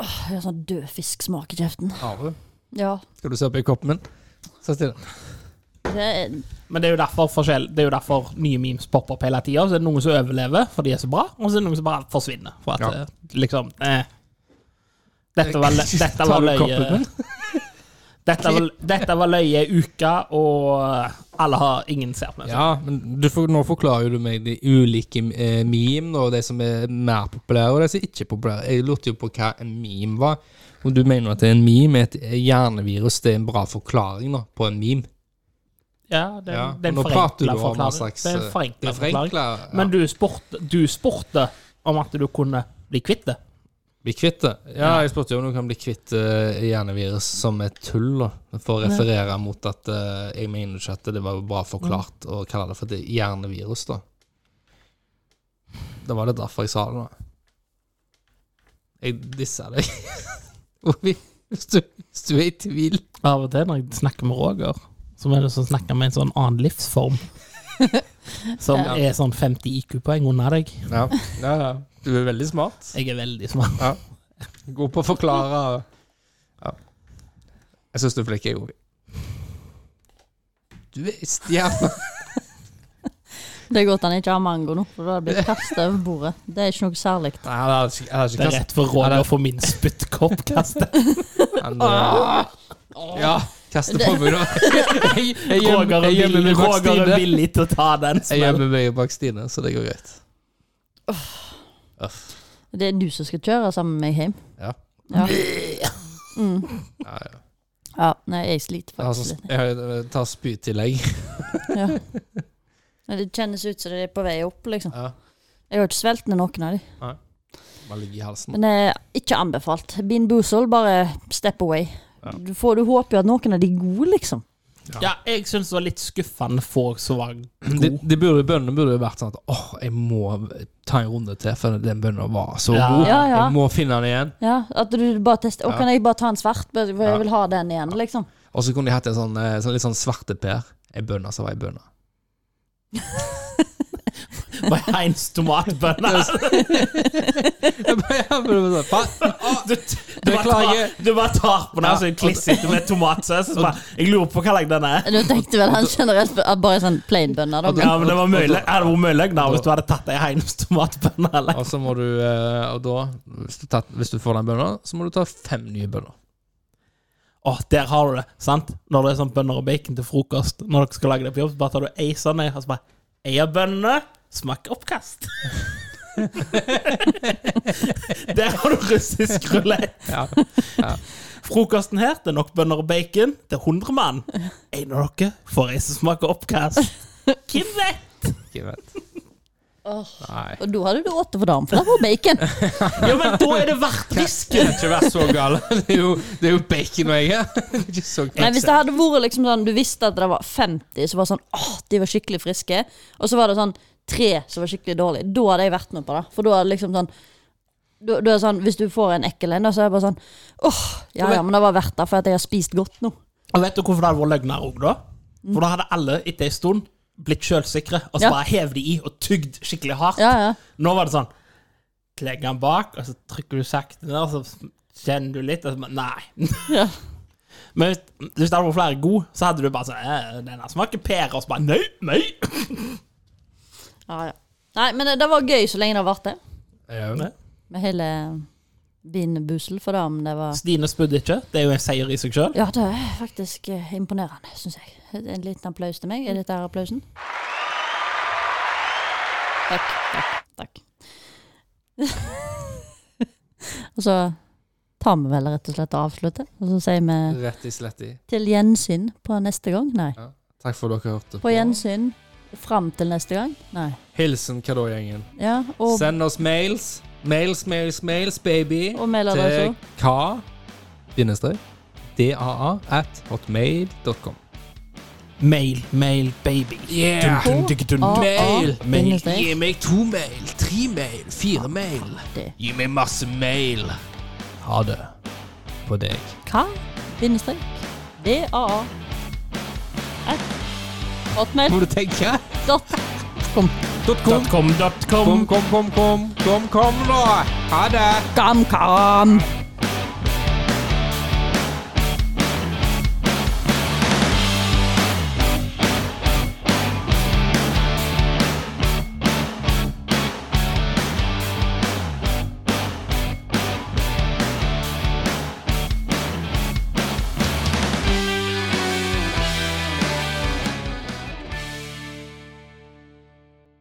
[SPEAKER 1] Jeg har sånn død fisksmak i kjeften.
[SPEAKER 2] Har du?
[SPEAKER 1] Ja.
[SPEAKER 2] Skal du se på i koppen min? Så stille.
[SPEAKER 1] Det er,
[SPEAKER 3] Men det er jo derfor forskjell Det er jo derfor nye memes popper opp hele tida. Så er det noen som overlever, for de er så bra, og så er det noen som bare forsvinner. For at
[SPEAKER 2] Ja.
[SPEAKER 3] eh, liksom eh, Dette
[SPEAKER 2] [laughs]
[SPEAKER 3] var, lø- dette var
[SPEAKER 2] Tar du koppen min?
[SPEAKER 3] løye [laughs] dette var, dette var løye uka, og eh, alle har ingen ser på den.
[SPEAKER 2] Ja, men du får, nå forklarer jo du meg de ulike eh, meme, og de som er mer populære, og de som ikke er populære. Jeg lurte jo på hva en meme var. Og du mener at en meme er et hjernevirus. Det er en bra forklaring da, på en meme.
[SPEAKER 3] Ja, det,
[SPEAKER 2] Ja,
[SPEAKER 3] det er en
[SPEAKER 2] nå prater du
[SPEAKER 3] forenkla
[SPEAKER 2] om hva
[SPEAKER 3] forklaring.
[SPEAKER 2] slags
[SPEAKER 3] Det er en
[SPEAKER 2] eh,
[SPEAKER 3] forenkla
[SPEAKER 2] det er
[SPEAKER 3] forklaring.
[SPEAKER 2] forenklet, ja.
[SPEAKER 3] Men du spurte, du spurte om at du kunne bli kvitt det.
[SPEAKER 2] Bli kvitt det? Ja, jeg spurte jo om du kan bli kvitt eh, hjernevirus som et tull, da. For å referere mot at eh, jeg mener ikke at det var bra forklart å kalle det for et hjernevirus, da. Da var det derfor jeg sa det, da. Jeg dissa deg. [laughs] Og vi- hvis, du, hvis du er i tvil
[SPEAKER 3] Av og til når jeg snakker med Roger, så er det som snakker med en sånn annen [laughs] livsform. Som
[SPEAKER 2] Ja.
[SPEAKER 3] er sånn 50 IQ-poeng under deg.
[SPEAKER 2] Ja, ja, ja. Du er veldig smart.
[SPEAKER 3] Jeg er veldig smart.
[SPEAKER 2] God på å forklare. Ja. Jeg syns du er flink, jeg, Ovi. Du er stjerne.
[SPEAKER 1] det er godt han ikke har mango nå, for da hadde det blitt kasta over bordet. Det er ikke noe særlig.
[SPEAKER 2] Nei, han hadde ikke- han hadde
[SPEAKER 3] Det
[SPEAKER 2] ikke
[SPEAKER 3] er
[SPEAKER 2] kastet
[SPEAKER 3] rett for
[SPEAKER 2] Ja,
[SPEAKER 3] Roger
[SPEAKER 2] det-
[SPEAKER 3] å få min spyttkopp [laughs] kastet.
[SPEAKER 2] han,
[SPEAKER 1] Ah.
[SPEAKER 2] eh, Ja, kaste på meg, da. [laughs] Jeg- jeg gjemmer-
[SPEAKER 3] Roger er
[SPEAKER 2] jeg gjemmer
[SPEAKER 3] villig-
[SPEAKER 2] meg bak
[SPEAKER 3] Roger er
[SPEAKER 2] Stine.
[SPEAKER 3] villig til å ta den
[SPEAKER 2] Jeg
[SPEAKER 3] smellen.
[SPEAKER 2] gjemmer meg bak Stine, så det går greit. Uff.
[SPEAKER 1] Det er du som skal kjøre sammen med meg hjem.
[SPEAKER 2] Ja.
[SPEAKER 1] Ja. Mm.
[SPEAKER 2] Ja, ja.
[SPEAKER 1] ja. Nei, jeg sliter
[SPEAKER 2] Jeg har
[SPEAKER 1] faktisk
[SPEAKER 2] sånn-
[SPEAKER 1] litt.
[SPEAKER 2] Jeg har- jeg tar
[SPEAKER 3] [laughs]
[SPEAKER 2] spytillegg.
[SPEAKER 1] Ja. Men Det kjennes ut som det er på vei opp, liksom.
[SPEAKER 2] Ja.
[SPEAKER 1] Jeg har ikke svelt ned noen av de.
[SPEAKER 2] Bare ligger i halsen.
[SPEAKER 1] Men eh, ikke anbefalt. Bean Boozle, bare step away. Du, får, du håper jo at noen av de er gode, liksom.
[SPEAKER 3] Ja, jeg syns det var litt skuffende få som var
[SPEAKER 2] De,
[SPEAKER 3] gode.
[SPEAKER 2] de burde, bøndene burde jo vært sånn at åh, jeg må ta en runde til, for den bønnen var så
[SPEAKER 3] Ja.
[SPEAKER 2] god.
[SPEAKER 1] Ja, ja.
[SPEAKER 2] Jeg må finne den igjen.
[SPEAKER 1] Ja, At du bare tester Å,
[SPEAKER 2] Ja.
[SPEAKER 1] kan jeg bare ta en svart? Bare- For
[SPEAKER 2] Ja.
[SPEAKER 1] jeg vil ha den igjen, liksom.
[SPEAKER 2] Og så kunne de hatt en sånn, eh, sånn litt sånn svarteper. Ei bønne som var ei [laughs] bønne.
[SPEAKER 3] [laughs] Var Heinz tomatbønner. Du, [laughs] du, bare tar,
[SPEAKER 2] Beklager.
[SPEAKER 3] du bare tar på den
[SPEAKER 2] Ja,
[SPEAKER 3] her, så jeg klissete med tomatsaus. og så bare, Jeg lurer på hva lag den er.
[SPEAKER 1] Du tenkte vel han generelt på- at bare sånn plain bønner, da.
[SPEAKER 2] Og
[SPEAKER 1] Men,
[SPEAKER 3] Ja, men Det var mye løgn- det hadde vært mye løgn da, hvis du hadde tatt ei Heinz tomatbønne. eller?
[SPEAKER 2] Og så må du eh, Og da, hvis du, tatt, hvis du får den bønna, så må du ta fem nye bønner.
[SPEAKER 3] Å, der har du det. sant? Når det er sånn bønner og bacon til frokost, når dere skal lage det på jobb, så bare tar du ei sånn ei, og så bare Ei av bønnene smaker oppkast. [laughs] der har du russisk rulett.
[SPEAKER 2] Ja.
[SPEAKER 3] Frokosten her, det er nok bønner og bacon til 100 mann. En av dere får ei som smaker oppkast. Hvem vet?
[SPEAKER 2] Ikke vet.
[SPEAKER 1] Åh.
[SPEAKER 2] Nei.
[SPEAKER 1] og da hadde du åtte for dagen, for det var bacon.
[SPEAKER 3] Jo, men da er det verdt
[SPEAKER 2] Det
[SPEAKER 3] risken.
[SPEAKER 2] kan ikke være så gale. [laughs] Det er jo, det er jo bacon og egg her. [laughs] Det er ikke så gale.
[SPEAKER 1] Nei, Hvis det hadde vært liksom sånn du visste at det var 50 som var sånn åh, de var skikkelig friske, og så var det sånn tre som var skikkelig dårlige, da hadde jeg vært med på det. For da er det liksom sånn da, da er det sånn, Hvis du får en ekkel en, da, så er det bare sånn åh, ja ja, men det var verdt det, for at jeg har spist godt nå.
[SPEAKER 3] Og vet du hvorfor det hadde vært løgner òg, da? For da hadde alle etter ei stund blitt sjølsikre, og så
[SPEAKER 1] Ja.
[SPEAKER 3] bare hev de i og tygd skikkelig hardt.
[SPEAKER 1] Ja, ja.
[SPEAKER 3] Nå var det sånn Legg den bak, og så trykker du sakte ned, og så kjenner du litt, og så bare Nei.
[SPEAKER 1] Ja.
[SPEAKER 3] [laughs] Men hvis, hvis det hadde vært flere gode, så hadde du bare sånn «Eh, Den her smaker pære, og så bare Nei, nei.
[SPEAKER 1] Ja, ja. Nei, men det, det var gøy så lenge det varte.
[SPEAKER 2] Ja.
[SPEAKER 3] Nei.
[SPEAKER 1] Med hele vinbussel for dem. Det var
[SPEAKER 3] Stine spydde ikke. Det er jo en seier i seg sjøl.
[SPEAKER 1] Ja, det er faktisk eh, imponerende, syns jeg. En liten applaus til meg. Er dette her applausen? Takk. Takk. [laughs] takk. og så tar vi vel rett og slett og avslutter. Og så sier vi
[SPEAKER 2] Rett i slett i.
[SPEAKER 1] til gjensyn på neste gang. Nei.
[SPEAKER 2] Takk for at dere hørte
[SPEAKER 1] På gjensyn fram til neste gang. Nei.
[SPEAKER 2] Hilsen hva da, gjengen.
[SPEAKER 1] Ja, og,
[SPEAKER 2] Send oss mails. Mails, mails, mails, baby.
[SPEAKER 1] og melder deg så.
[SPEAKER 2] til hva? Bindestrek. DAA at hotmail.com.
[SPEAKER 3] Mail, mail, baby.
[SPEAKER 2] Yeah!
[SPEAKER 1] Dun, dun, dun.
[SPEAKER 2] Mail!
[SPEAKER 1] AA, bindestrek.
[SPEAKER 2] Gi meg to mail, tre mail, fire mail.
[SPEAKER 1] Det.
[SPEAKER 2] Gi meg masse mail. Ha det på deg.
[SPEAKER 1] Hva? Bindestrek. DAA. At
[SPEAKER 2] Må du tenke?
[SPEAKER 1] hotmail.com.
[SPEAKER 3] Dot com, dot com.
[SPEAKER 2] Kom, kom, kom, kom. Kom, kom nå. Ha det.
[SPEAKER 1] Kom, kom!